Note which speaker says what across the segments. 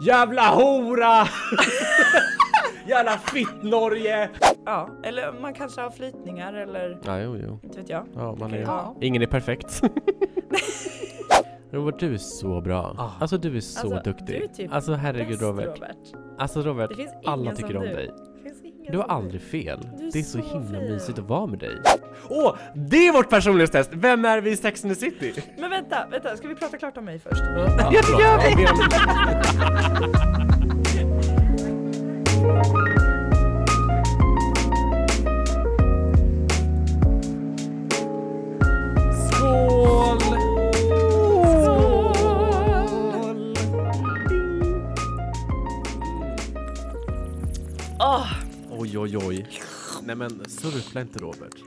Speaker 1: Jävla hora! Jävla fitt-Norge!
Speaker 2: Ja, eller man kanske har flytningar eller
Speaker 3: Ja, jo, jo.
Speaker 2: inte vet jag.
Speaker 3: Ja, man är...
Speaker 2: Ja.
Speaker 3: Ingen är perfekt. Robert, du är så bra.
Speaker 1: Ah.
Speaker 3: Alltså du är så
Speaker 2: Alltså,
Speaker 3: duktig.
Speaker 2: du är typ
Speaker 3: alltså herregud
Speaker 2: Bäst,
Speaker 3: Robert. Alltså Robert,
Speaker 2: Det finns ingen
Speaker 3: alla tycker
Speaker 2: som
Speaker 3: om
Speaker 2: du.
Speaker 3: dig.
Speaker 2: Det finns ingen
Speaker 3: Du har
Speaker 2: som du.
Speaker 3: aldrig fel.
Speaker 2: Du är
Speaker 3: det är så,
Speaker 2: så
Speaker 3: himla
Speaker 2: fin.
Speaker 3: mysigt att vara med dig. Åh, det är vårt personlighetstest! Vem är vi i Sex and the City?
Speaker 2: Men vänta, vänta, ska vi prata klart om mig först?
Speaker 3: Ja, det gör vi! Skål! Skål!
Speaker 2: Åh!
Speaker 3: Oj, oj, oj. Nej men surfla inte Robert.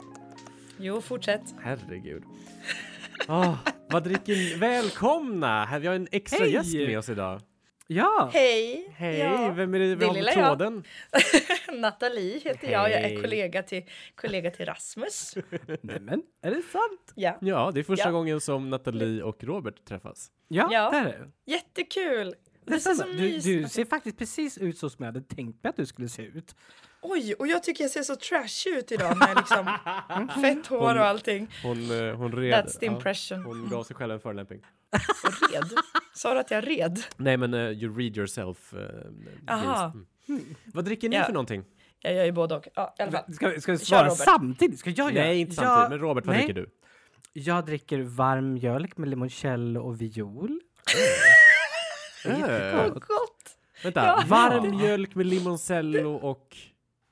Speaker 2: Jo, fortsätt.
Speaker 3: Herregud. Ah, vad dricker ni? Välkomna! Här, vi har en extra
Speaker 1: Hej!
Speaker 3: gäst med oss idag.
Speaker 1: Ja!
Speaker 2: Hej!
Speaker 3: Hej,
Speaker 2: Ja.
Speaker 3: vem är det vi
Speaker 2: det
Speaker 3: har
Speaker 2: lilla
Speaker 3: på
Speaker 2: jag.
Speaker 3: tråden?
Speaker 2: Nathalie heter jag. Jag
Speaker 3: Hej.
Speaker 2: är kollega till, kollega till Rasmus.
Speaker 1: Nämen, är det sant?
Speaker 2: Ja.
Speaker 3: Ja, det är första
Speaker 2: Ja.
Speaker 3: gången som Nathalie och Robert träffas.
Speaker 1: Ja,
Speaker 2: Ja.
Speaker 1: det är det.
Speaker 2: Jättekul!
Speaker 1: Det
Speaker 2: Du ser
Speaker 1: är
Speaker 2: så
Speaker 1: sant. Du, du
Speaker 2: mysig
Speaker 1: ser faktiskt precis ut så som jag hade tänkt mig att du skulle se ut.
Speaker 2: Oj, och jag tycker jag ser så trashig ut idag med liksom fett hår och allting.
Speaker 3: Mm. Hon, eh, hon red.
Speaker 2: That's the
Speaker 3: Ja,
Speaker 2: impression.
Speaker 3: Hon gav sig själv en förolämpning.
Speaker 2: Och red. Sa du att jag red?
Speaker 3: Nej, men eh, you read yourself. Uh,
Speaker 2: Aha. Hmm.
Speaker 3: Vad dricker ni
Speaker 2: Ja.
Speaker 3: för någonting?
Speaker 2: Jag gör ju både och. Ja, i alla fall.
Speaker 1: Ska, ska vi
Speaker 2: Kör,
Speaker 1: svara
Speaker 2: Robert.
Speaker 1: samtidigt? Ska jag göra?
Speaker 3: Nej, inte
Speaker 1: jag,
Speaker 3: samtidigt. Men Robert, vad
Speaker 1: nej.
Speaker 3: dricker du?
Speaker 1: Jag dricker varm mjölk med limoncello och viol.
Speaker 2: Åh,
Speaker 3: Äh,
Speaker 2: gott!
Speaker 3: vänta,
Speaker 2: Ja.
Speaker 3: varm
Speaker 1: Ja.
Speaker 3: mjölk med limoncello och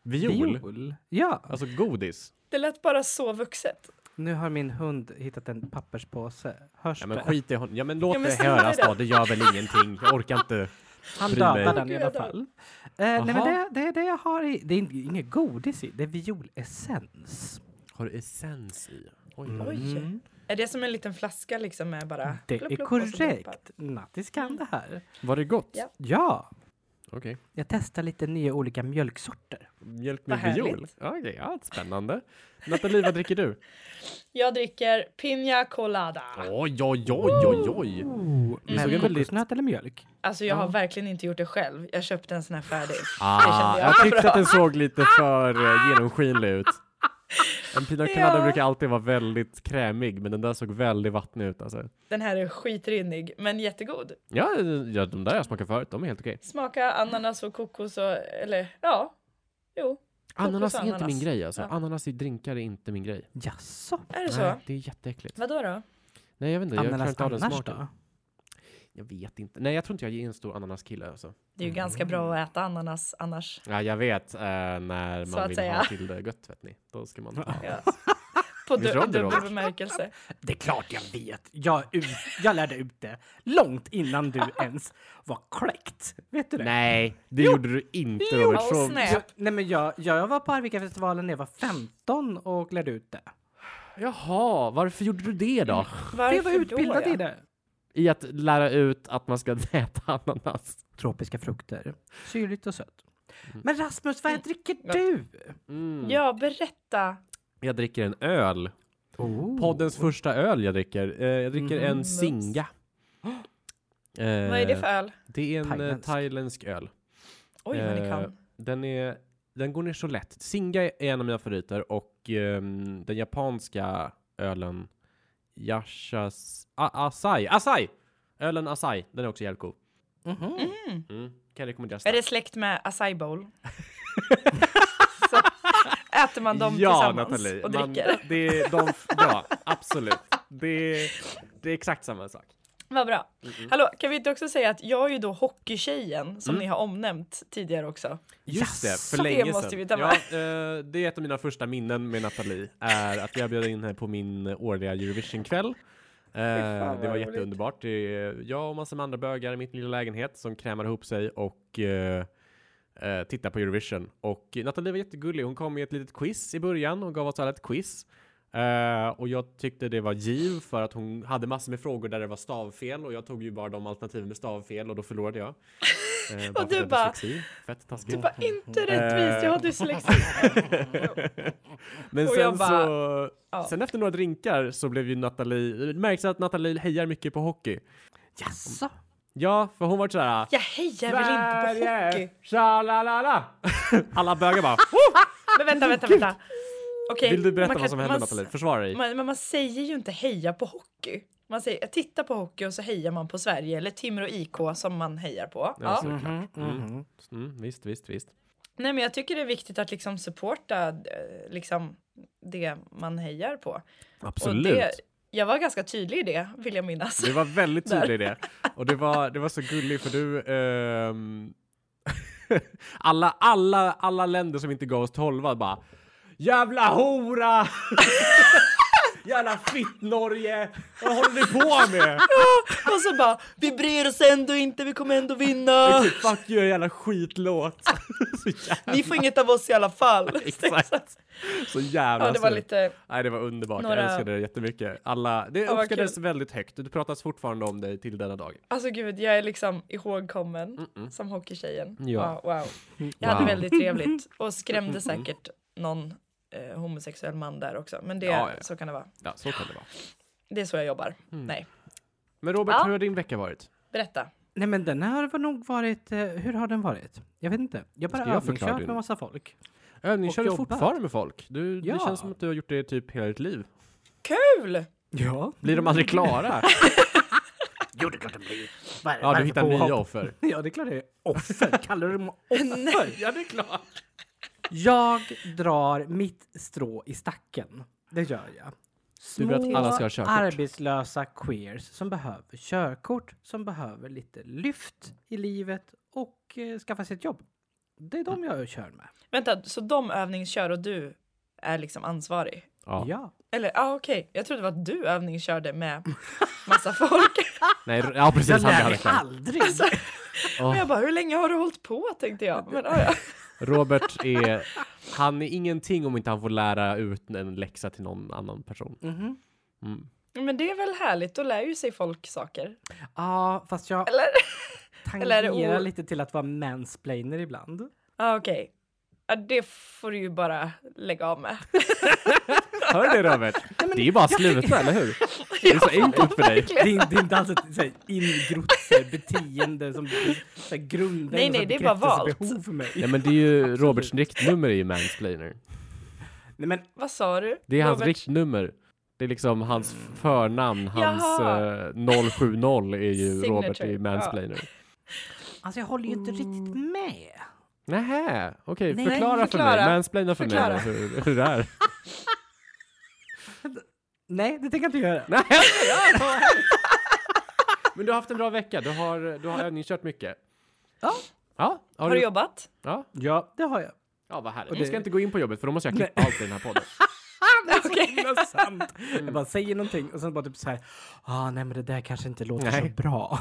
Speaker 3: viol.
Speaker 1: Ja.
Speaker 3: Alltså godis.
Speaker 2: Det lät bara så vuxet.
Speaker 1: Nu har min hund hittat en papperspåse. Hörs
Speaker 3: Ja, men
Speaker 1: det?
Speaker 3: skit i hon. Ja, men låt
Speaker 2: Ja, men
Speaker 3: det
Speaker 2: snälla.
Speaker 3: höras då. Det gör väl ingenting. Jag orkar inte.
Speaker 1: Han
Speaker 3: Bryr mig.
Speaker 1: dödar den i
Speaker 2: Gud,
Speaker 1: alla
Speaker 2: jag dör.
Speaker 1: fall. Eh, nej, men
Speaker 3: Jaha.
Speaker 1: det, det är det jag har i. Det är inte- inget godis i. Det är violessens.
Speaker 3: Har du essens i? Oj. Mm.
Speaker 2: Oj. Är det som en liten flaska liksom med bara...
Speaker 1: Det
Speaker 2: plopp,
Speaker 1: är
Speaker 2: plopp, och så droppar?
Speaker 1: korrekt. Nattis kan det här.
Speaker 3: Var det gott?
Speaker 2: Ja.
Speaker 1: Ja,
Speaker 3: Okej.
Speaker 1: jag testar lite nya olika mjölksorter.
Speaker 3: Mjölk
Speaker 2: Vad
Speaker 3: med viol.
Speaker 2: härligt.
Speaker 3: Ja, okay, ja, spännande. Nathalie, vad dricker du?
Speaker 2: Jag dricker Pina Colada.
Speaker 3: Oj, oj, oj, oj, oj.
Speaker 1: Med
Speaker 3: såg en väldigt-
Speaker 1: kokosnöt eller mjölk?
Speaker 2: Alltså jag har verkligen inte gjort det själv. Jag köpte en sån här färdig.
Speaker 3: Ah,
Speaker 2: kände jag.
Speaker 3: jag tyckte att den såg lite för eh, genomskinlig ut. En pina colada
Speaker 2: Ja.
Speaker 3: brukar alltid vara väldigt krämig, men den där såg väldigt vattnig ut alltså.
Speaker 2: Den här är skitrinnig, men jättegod.
Speaker 3: Ja, ja, de där jag smakade förut, de är helt okej.
Speaker 2: Smaka ananas och kokos och... Eller ja. Jo. Kokos
Speaker 3: Ananas
Speaker 2: och
Speaker 3: är inte
Speaker 2: ananas.
Speaker 3: min grej alltså.
Speaker 2: Ja.
Speaker 3: Ananas i drinkar är inte min grej.
Speaker 1: Jaså?
Speaker 2: Är det så?
Speaker 3: Nej, det är jätteäckligt.
Speaker 2: Vadå då?
Speaker 3: Nej, jag vet inte. Jag klarar
Speaker 1: Ananas
Speaker 3: inte av den
Speaker 1: annars
Speaker 3: smaken.
Speaker 1: då?
Speaker 3: Jag vet inte. Nej, jag tror inte jag är en stor ananaskille alltså.
Speaker 2: Det är ju ganska bra att äta ananas annars.
Speaker 3: Ja, jag vet eh, när man
Speaker 2: Så att
Speaker 3: vill ha
Speaker 2: säga.
Speaker 3: till det gött vet ni. Då ska man ha.
Speaker 2: Ja. På
Speaker 3: Visst
Speaker 2: du-
Speaker 3: är de det,
Speaker 2: dubbel
Speaker 3: Robert?
Speaker 2: bemärkelse.
Speaker 1: Det är klart jag vet. Jag, ut, jag lärde ut det långt innan du ens var kläckt. Vet du det?
Speaker 3: Nej, det gjorde du inte Robert.
Speaker 2: Åh,
Speaker 3: Så-
Speaker 2: snäll.
Speaker 1: Jag, nej men jag, jag var på Arvikafestivalen när jag var 15 och lärde ut det.
Speaker 3: Jaha, varför gjorde du det
Speaker 2: Mm.
Speaker 3: då?
Speaker 1: För
Speaker 2: Varför
Speaker 1: jag var utbildad
Speaker 2: då, ja?
Speaker 1: i det.
Speaker 3: I att lära ut att man ska äta ananas.
Speaker 1: Tropiska frukter. Syrligt och sött. Men Rasmus, vad dricker du?
Speaker 2: Ja, berätta.
Speaker 3: Jag dricker en öl.
Speaker 1: Oh.
Speaker 3: Poddens första öl jag dricker. Eh, jag dricker en
Speaker 2: Nice.
Speaker 3: singa.
Speaker 2: Mm. Vad
Speaker 3: Eh.
Speaker 2: är det för öl?
Speaker 3: Det är en eh,
Speaker 1: Thailändsk.
Speaker 3: thailändsk öl.
Speaker 2: Oj, vad ni
Speaker 3: Eh,
Speaker 2: kan.
Speaker 3: Den, är, den går ner så lätt. Singa är en av mina favoriter och ehm, den japanska ölen Yashas... A- Asai! Asai! Ölen Asai, den är också jävligt god.
Speaker 2: Mm.
Speaker 3: Mm. Kan jag rekommendera
Speaker 2: Är
Speaker 3: starkt.
Speaker 2: det släkt med acai bowl? Så äter man dem tillsammans och
Speaker 3: man-
Speaker 2: dricker.
Speaker 3: det är de, ja, absolut. Det är, det är exakt samma sak.
Speaker 2: Vad bra. Hallå, kan vi inte också säga att jag är ju då hockeytjejen
Speaker 3: Mm.
Speaker 2: som ni har omnämt tidigare också.
Speaker 3: Just
Speaker 1: Jaså,
Speaker 3: det, för länge
Speaker 2: det måste
Speaker 3: sedan.
Speaker 2: vi ta
Speaker 3: ja,
Speaker 2: med.
Speaker 3: eh, det är ett av mina första minnen med Nathalie, är att jag bjöd in henne på min årliga Eurovision-kväll. Eh,
Speaker 2: vad
Speaker 3: det var
Speaker 2: roligt.
Speaker 3: jätteunderbart. Det är jag och massa med andra bögar i min lilla lägenhet som krämar ihop sig och eh, eh, tittar på Eurovision. Och Nathalie var jättegullig. Hon kom med ett litet quiz i början. Hon gav oss alla ett quiz. Eh, och jag tyckte det var giv för att hon hade massor med frågor där det var stavfel och jag tog ju bara de alternativen med stavfel och då förlorade jag. Eh, för att
Speaker 2: du
Speaker 3: jag är
Speaker 2: bara-
Speaker 3: dyslexi. Fett taskigt.
Speaker 2: Bara inte
Speaker 3: Eh.
Speaker 2: rättvist, Typ, jag har dyslexi.
Speaker 3: Men
Speaker 2: Och
Speaker 3: sen
Speaker 2: jag bara,
Speaker 3: så,
Speaker 2: ja.
Speaker 3: sen efter några drinkar så blev ju Nathalie, det märks att Nathalie hejar mycket på hockey.
Speaker 1: Jaså?
Speaker 3: Ja, för hon var sådär...
Speaker 2: Jag hejar väl inte på hockey?
Speaker 3: Tjalalala! Alla bögar bara...
Speaker 2: Men vänta, vänta, vänta. Okej,
Speaker 3: Vill du berätta
Speaker 2: man kan-
Speaker 3: vad som hände
Speaker 2: man
Speaker 3: Nathalie?
Speaker 2: s-
Speaker 3: Försvara dig.
Speaker 2: Man, men man säger ju inte heja på hockey. Man säger jag tittar på hockey och så hejar man på Sverige eller Timrå IK som man hejar på. Ja.
Speaker 3: så- Mm, visst, visst, visst.
Speaker 2: Nej, men jag tycker det är viktigt att liksom supporta eh, liksom, det man hejar på.
Speaker 3: Absolut.
Speaker 2: Och det, jag var ganska tydlig i det, vill jag minnas.
Speaker 3: Du var väldigt tydlig i det. Och det var, det var så gulligt för du... ehm, alla, alla, alla länder som inte gav oss tolva bara Jävla hora! Jävla fitt-Norge! Vad håller ni på med?
Speaker 2: Och så bara, vi bryr oss ändå inte, vi kommer ändå vinna.
Speaker 3: "Typ, Fuck you, jävla skitlåt! så jävla,
Speaker 2: Ni får inget av oss i alla fall.
Speaker 3: exakt. Så jävla
Speaker 2: Ja, det var
Speaker 3: surt.
Speaker 2: lite...
Speaker 3: Nej, det var underbart.
Speaker 2: Några-
Speaker 3: Jag älskade det jättemycket. Alla, det
Speaker 2: vad
Speaker 3: uppskattades väldigt högt. Det pratas fortfarande om dig till denna dag.
Speaker 2: Alltså gud, jag är liksom ihågkommen som hockeytjejen.
Speaker 3: Ja.
Speaker 2: Ja. wow. Jag hade
Speaker 3: Wow.
Speaker 2: väldigt trevligt och skrämde säkert någon eh, homosexuell man där också. Men det,
Speaker 3: Ja, Mm. ja.
Speaker 2: så kan det vara.
Speaker 3: Ja, så kan det vara.
Speaker 2: Det är så jag jobbar. Nej,
Speaker 3: Men Robert,
Speaker 2: Ja.
Speaker 3: hur har din vecka varit?
Speaker 2: berätta.
Speaker 1: Nej men den här har nog varit, eh, hur har den varit? Jag vet inte. Jag bara
Speaker 3: Ska jag förklara
Speaker 1: övningskört
Speaker 3: din?
Speaker 1: med massa folk.
Speaker 3: Övning
Speaker 1: Och
Speaker 3: kör du
Speaker 1: jobbat.
Speaker 3: fortfarande med folk. Du,
Speaker 1: Ja.
Speaker 3: Det känns som att du har gjort det typ hela ditt liv.
Speaker 2: Kul!
Speaker 1: Ja.
Speaker 3: Blir de aldrig klara?
Speaker 1: Jo det är klart den blir. Vad är det-
Speaker 3: ja,
Speaker 1: vad är
Speaker 3: du
Speaker 1: det
Speaker 3: hittar
Speaker 1: för påhopp?
Speaker 3: nya offer.
Speaker 1: Ja det är klart det är offer. Kallar du dem offer?
Speaker 3: Ja, det är klart.
Speaker 1: Jag drar mitt strå i stacken. Det gör jag.
Speaker 3: Du
Speaker 1: Små
Speaker 3: vill att alla ska ha körkort.
Speaker 1: arbetslösa queers som behöver körkort, som behöver lite lyft i livet och eh, skaffa sig ett jobb. Det är de jag kör med.
Speaker 2: Vänta, så de övningskör och du är liksom ansvarig?
Speaker 3: Ja.
Speaker 1: Ja.
Speaker 2: Eller ja, ah, okej. Jag trodde det var att du övningskörde med massa folk.
Speaker 3: Nej, r- ja, precis.
Speaker 1: Jag
Speaker 3: Han
Speaker 1: lär
Speaker 3: hade
Speaker 1: mig
Speaker 3: klart.
Speaker 1: aldrig.
Speaker 2: Och jag bara, hur länge har du hållit på? Tänkte jag. Men, ah, ja.
Speaker 3: Robert är... Han är ingenting om inte han får lära ut en läxa till någon annan person.
Speaker 1: Mhm.
Speaker 2: Men det är väl härligt, då lär ju sig folk saker.
Speaker 1: Ja, fast jag
Speaker 2: Eller? Eller är det
Speaker 1: tangerar
Speaker 2: o-
Speaker 1: lite till att vara mansplainer ibland.
Speaker 2: Ja, Ah, okej. Ja, det får du ju bara lägga av med.
Speaker 3: Hör du det, Robert? det är ju bara att sluta, eller hur? Det är så enkelt för dig.
Speaker 1: Det är, det är inte alls ett så här ingrott så här beteende som så här grundar
Speaker 2: Nej, nej,
Speaker 1: något
Speaker 2: det är bara valt.
Speaker 1: bekräftelsebehov för mig.
Speaker 3: Ja, men det är ju Roberts riktnummer är ju mansplainer.
Speaker 1: Nej, men
Speaker 2: Vad sa du?
Speaker 3: Det är hans
Speaker 2: Robert?
Speaker 3: riktnummer. Det är liksom hans förnamn, hans
Speaker 2: Jaha.
Speaker 3: eh, 070 är ju
Speaker 2: Signature,
Speaker 3: Robert i
Speaker 2: ja.
Speaker 3: mansplainer.
Speaker 1: alltså jag håller ju inte riktigt med.
Speaker 3: Nähä, okej,
Speaker 1: Nej,
Speaker 3: förklara,
Speaker 2: nej,
Speaker 3: för mig,
Speaker 2: förklara.
Speaker 3: mansplaina för
Speaker 2: Förklara.
Speaker 3: mig hur, hur det är.
Speaker 1: Nej, det tänker jag inte göra.
Speaker 3: Nej, Men du har haft en bra vecka, du har, du har övningskört mycket.
Speaker 1: Ja.
Speaker 3: Ja, har,
Speaker 2: Har
Speaker 3: du,
Speaker 2: du jobbat?
Speaker 3: ja.
Speaker 1: Ja, det har jag.
Speaker 3: ja vad härligt.
Speaker 1: Och
Speaker 3: Vi
Speaker 1: det-
Speaker 3: ska inte gå in på jobbet för då måste jag klippa allt i den här podden.
Speaker 2: Okej.
Speaker 1: Det är sant. Jag bara säger någonting och sen bara typ så här. Ah, nej, men det där kanske inte låter
Speaker 3: Nej.
Speaker 1: så bra.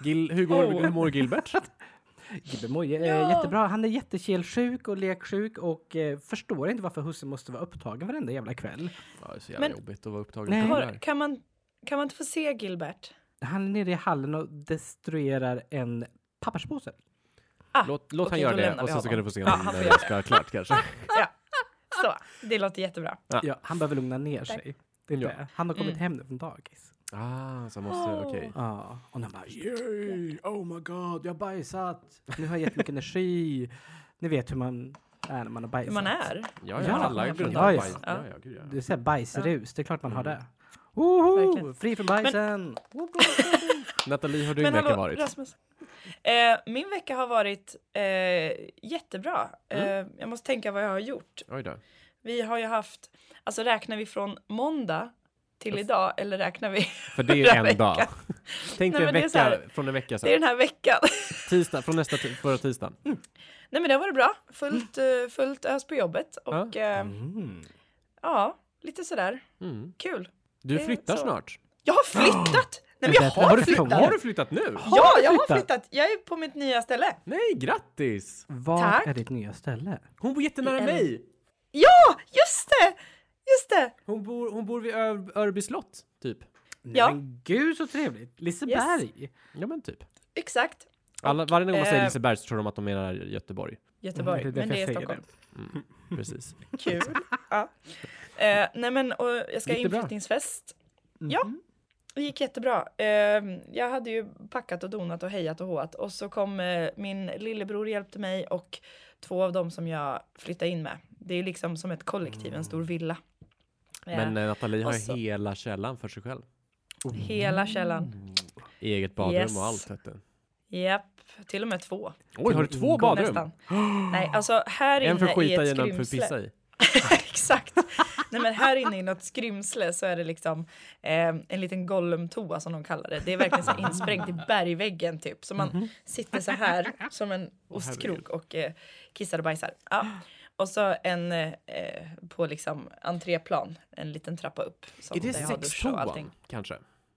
Speaker 3: Gil, hur, går,
Speaker 2: Oh.
Speaker 3: hur mår Gilbert?
Speaker 1: Gibbe mår j-
Speaker 2: Ja.
Speaker 1: eh, jättebra. Han är jättekelsjuk och leksjuk och eh, förstår inte varför husse måste vara upptagen varenda jävla kväll.
Speaker 3: Ja, det är så jävla
Speaker 2: Men-
Speaker 3: jobbigt att vara upptagen på
Speaker 1: Nej.
Speaker 3: det
Speaker 2: Har,
Speaker 3: där.
Speaker 2: kan, man, kan man inte få se Gilbert?
Speaker 1: Han är nere i hallen och destruerar en papperspåse.
Speaker 2: Ah,
Speaker 3: Låt, låt
Speaker 2: okej,
Speaker 3: han göra
Speaker 2: då
Speaker 3: det
Speaker 2: lämnar
Speaker 3: och
Speaker 2: vi
Speaker 3: sen så kan du
Speaker 2: honom.
Speaker 3: få se
Speaker 2: Ja,
Speaker 3: om
Speaker 2: han får
Speaker 3: eh,
Speaker 2: göra
Speaker 3: ska ha klart kanske.
Speaker 2: Ja. Så, det låter jättebra.
Speaker 3: Ja.
Speaker 1: Ja, han behöver lugna ner sig. Det är
Speaker 3: Ja.
Speaker 1: det. Han har kommit
Speaker 2: Mm.
Speaker 1: hem nu från dagis.
Speaker 3: Ah, så måste,
Speaker 2: Åh.
Speaker 3: okej.
Speaker 1: Ja, och han bara yay, oh my god, jag har bajsat. Nu har jag jättemycket energi. Ni vet hur man är när man har
Speaker 2: Hur
Speaker 1: bajsat.
Speaker 2: man är.
Speaker 3: Ja, ja,
Speaker 1: Ja,
Speaker 3: alla
Speaker 1: ja,
Speaker 3: grundar
Speaker 1: ja.
Speaker 3: på bajs. Ja, ja, gud, ja.
Speaker 1: Det är såhär bajsrus, det är klart man har det. Woho!
Speaker 2: Verkligen.
Speaker 1: Fri från bajsen!
Speaker 3: Nathalie, hur har din
Speaker 2: Men
Speaker 3: vecka
Speaker 2: hallå,
Speaker 3: varit?
Speaker 2: Rasmus. Eh, min vecka har varit eh, jättebra.
Speaker 1: Mm.
Speaker 2: Eh, jag måste tänka vad jag har gjort.
Speaker 3: Oj då.
Speaker 2: Vi har ju haft, alltså räknar vi från måndag till idag eller räknar vi?
Speaker 3: För det är ju
Speaker 2: Förra
Speaker 3: en
Speaker 2: veckan.
Speaker 3: dag. Tänk dig
Speaker 2: Nej,
Speaker 3: en
Speaker 2: men det är
Speaker 3: vecka
Speaker 2: så här-
Speaker 3: från en vecka
Speaker 2: Det är
Speaker 3: sedan.
Speaker 2: den här veckan.
Speaker 3: Tisdag, från nästa ti- förra tisdagen.
Speaker 2: Nej men det har varit bra. Fullt, eh, fullt ös på jobbet och eh,
Speaker 1: Mm.
Speaker 2: ja, lite sådär
Speaker 3: Mm.
Speaker 2: kul.
Speaker 3: Du
Speaker 2: Det är
Speaker 3: flyttar
Speaker 2: så.
Speaker 3: snart.
Speaker 2: Jag har flyttat! Nej men
Speaker 1: Vänta,
Speaker 2: jag
Speaker 1: har
Speaker 2: har
Speaker 1: du
Speaker 2: flyttat!
Speaker 1: flyttat?
Speaker 3: Har du flyttat nu?
Speaker 2: Ja,
Speaker 1: du
Speaker 2: jag har
Speaker 1: flyttat?
Speaker 2: flyttat! Jag är på mitt nya ställe.
Speaker 3: Nej, grattis!
Speaker 1: Vad
Speaker 2: Tack.
Speaker 1: är ditt nya ställe?
Speaker 3: Hon bor jättenära
Speaker 2: en-
Speaker 3: mig.
Speaker 2: Ja, just det! Just det!
Speaker 3: Hon bor, hon bor vid Ö- Örby slott, typ.
Speaker 1: Nej,
Speaker 2: Ja.
Speaker 1: Men gud så trevligt! Liseberg! Mm,
Speaker 3: Ja, men typ.
Speaker 2: Exakt.
Speaker 3: Alla, varje gång man säger
Speaker 2: eh,
Speaker 3: Liseberg så tror de att de menar Göteborg.
Speaker 2: Göteborg,
Speaker 1: Mm, det är
Speaker 2: men det
Speaker 1: därför
Speaker 2: är
Speaker 1: jag säger
Speaker 2: Stockholm.
Speaker 3: Precis.
Speaker 2: Kul. ja. eh, nej men och jag ska ha
Speaker 3: Gick det bra? Mhm.
Speaker 2: inflyttningsfest. Ja. Det gick jättebra. Eh, Jag hade ju packat och donat och hejat och håat och så kom eh, min lillebror hjälpte mig och två av dem som jag flyttade in med. Det är liksom som ett kollektiv, en stor villa. Eh,
Speaker 3: Men eh, Nathalie har
Speaker 2: och så-
Speaker 3: hela källan för sig själv. Mm.
Speaker 2: Hela källan.
Speaker 3: Eget badrum
Speaker 2: Yes.
Speaker 3: och allt. Vet du.
Speaker 2: Japp, till och med två.
Speaker 3: Oj, har du två badrum?
Speaker 2: Nästan. Nej, alltså här
Speaker 3: En för
Speaker 2: inne
Speaker 3: att
Speaker 2: i
Speaker 3: skita i
Speaker 2: ett
Speaker 3: en och en för att
Speaker 2: skrymsle.
Speaker 3: pissa i.
Speaker 2: Exakt. Nej men här inne i något skrymsle så är det liksom eh, en liten Gollum-toa som de kallar det. Det är verkligen så här insprängt i bergväggen typ. Så man
Speaker 3: Mhm.
Speaker 2: sitter så här som en ostkrok och eh, kissar och bajsar. Ja. Och så en eh, eh, på liksom entréplan, en liten trappa upp. Som
Speaker 3: Är det
Speaker 2: där jag har dusch och allting.
Speaker 3: sextoan kanske?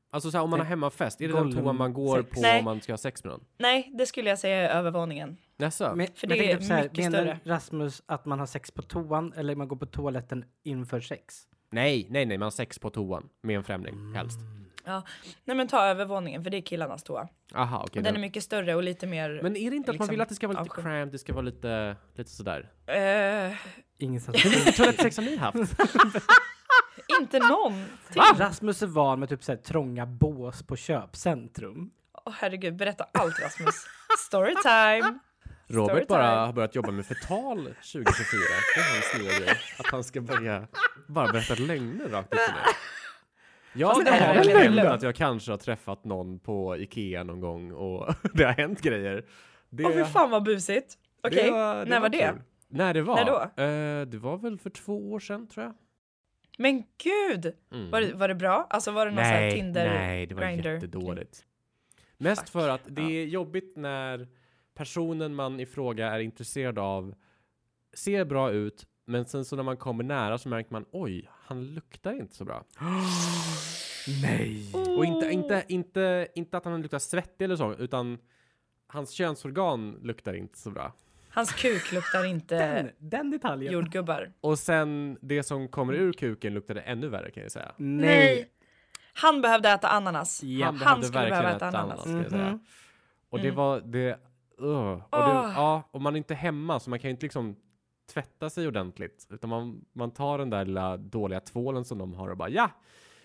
Speaker 3: Alltså så här, om man har hemmafest, är det den
Speaker 1: Golden
Speaker 3: toan man går
Speaker 1: sex.
Speaker 3: på
Speaker 2: Nej.
Speaker 3: om man ska ha sex med någon?
Speaker 2: Nej, det skulle jag säga är övervåningen.
Speaker 3: Jaså?
Speaker 1: Men,
Speaker 2: För
Speaker 1: men
Speaker 2: det
Speaker 1: jag
Speaker 2: är
Speaker 1: tänkte så här,
Speaker 2: mycket
Speaker 1: menar
Speaker 2: större.
Speaker 1: Rasmus att man har sex på toan eller man går på toaletten inför sex?
Speaker 3: Nej, nej, nej, man har sex på toan med en främling helst.
Speaker 2: Ja. Nej men ta övervåningen för det är killarnas toa.
Speaker 3: Aha, okej.
Speaker 2: Den är
Speaker 3: den-
Speaker 2: mycket större och lite mer...
Speaker 3: Men är det inte att man
Speaker 2: liksom
Speaker 3: vill att det ska vara lite
Speaker 2: avskild.
Speaker 3: cramped, det ska vara lite, lite sådär?
Speaker 2: eh,
Speaker 1: Ingenstans.
Speaker 3: Hur mycket toalettsex har ni haft?
Speaker 2: inte någon
Speaker 1: Rasmus är van med typ så här, trånga bås på köpcentrum.
Speaker 2: Åh herregud, berätta allt Rasmus. Storytime!
Speaker 3: Robert
Speaker 2: Storytime.
Speaker 3: bara har börjat jobba med fetal 2024. Det är hans nya grej. Att han ska börja bara berätta lögner rakt upp och ner. Jag
Speaker 2: Fast det här är
Speaker 3: har väl
Speaker 2: verkligen en
Speaker 3: nämnt
Speaker 2: lögn.
Speaker 3: att jag kanske har träffat någon på Ikea någon gång och det har hänt grejer. Det,
Speaker 2: Åh fy fan vad busigt! Okej, när var, det?
Speaker 3: kul. När det var?
Speaker 2: När då?
Speaker 3: Eh, det var väl för två år sedan tror jag.
Speaker 2: Men gud!
Speaker 3: Mm.
Speaker 2: Var det, var det bra? Alltså var det någon sån här Tinder?
Speaker 3: nej, det var
Speaker 2: Grindr.
Speaker 3: jättedåligt. Mest
Speaker 2: Fuck.
Speaker 3: för att det är jobbigt när personen man i fråga är intresserad av ser bra ut, men sen så när man kommer nära så märker man oj, han luktar inte så bra.
Speaker 1: Nej!
Speaker 3: Och
Speaker 2: Oh.
Speaker 3: inte, inte, inte, inte att han luktar svettig eller så, utan hans könsorgan luktar inte så bra.
Speaker 2: Hans kuk luktar inte
Speaker 1: Den, den detaljen.
Speaker 2: jordgubbar.
Speaker 3: Och sen det som kommer
Speaker 2: Mm.
Speaker 3: ur kuken luktade ännu värre kan jag säga.
Speaker 1: Nej!
Speaker 2: Han behövde äta ananas.
Speaker 1: Ja,
Speaker 2: han skulle
Speaker 3: verkligen
Speaker 2: behöva äta
Speaker 3: ett
Speaker 2: ananas.
Speaker 3: annat, ska jag säga.
Speaker 1: Mhm.
Speaker 3: Och det var det. ugh. Och
Speaker 2: Mm. Åh.
Speaker 3: det ja, och man är inte hemma så man kan ju inte liksom tvätta sig ordentligt utan man, man tar den där lilla dåliga tvålen som de har och bara ja,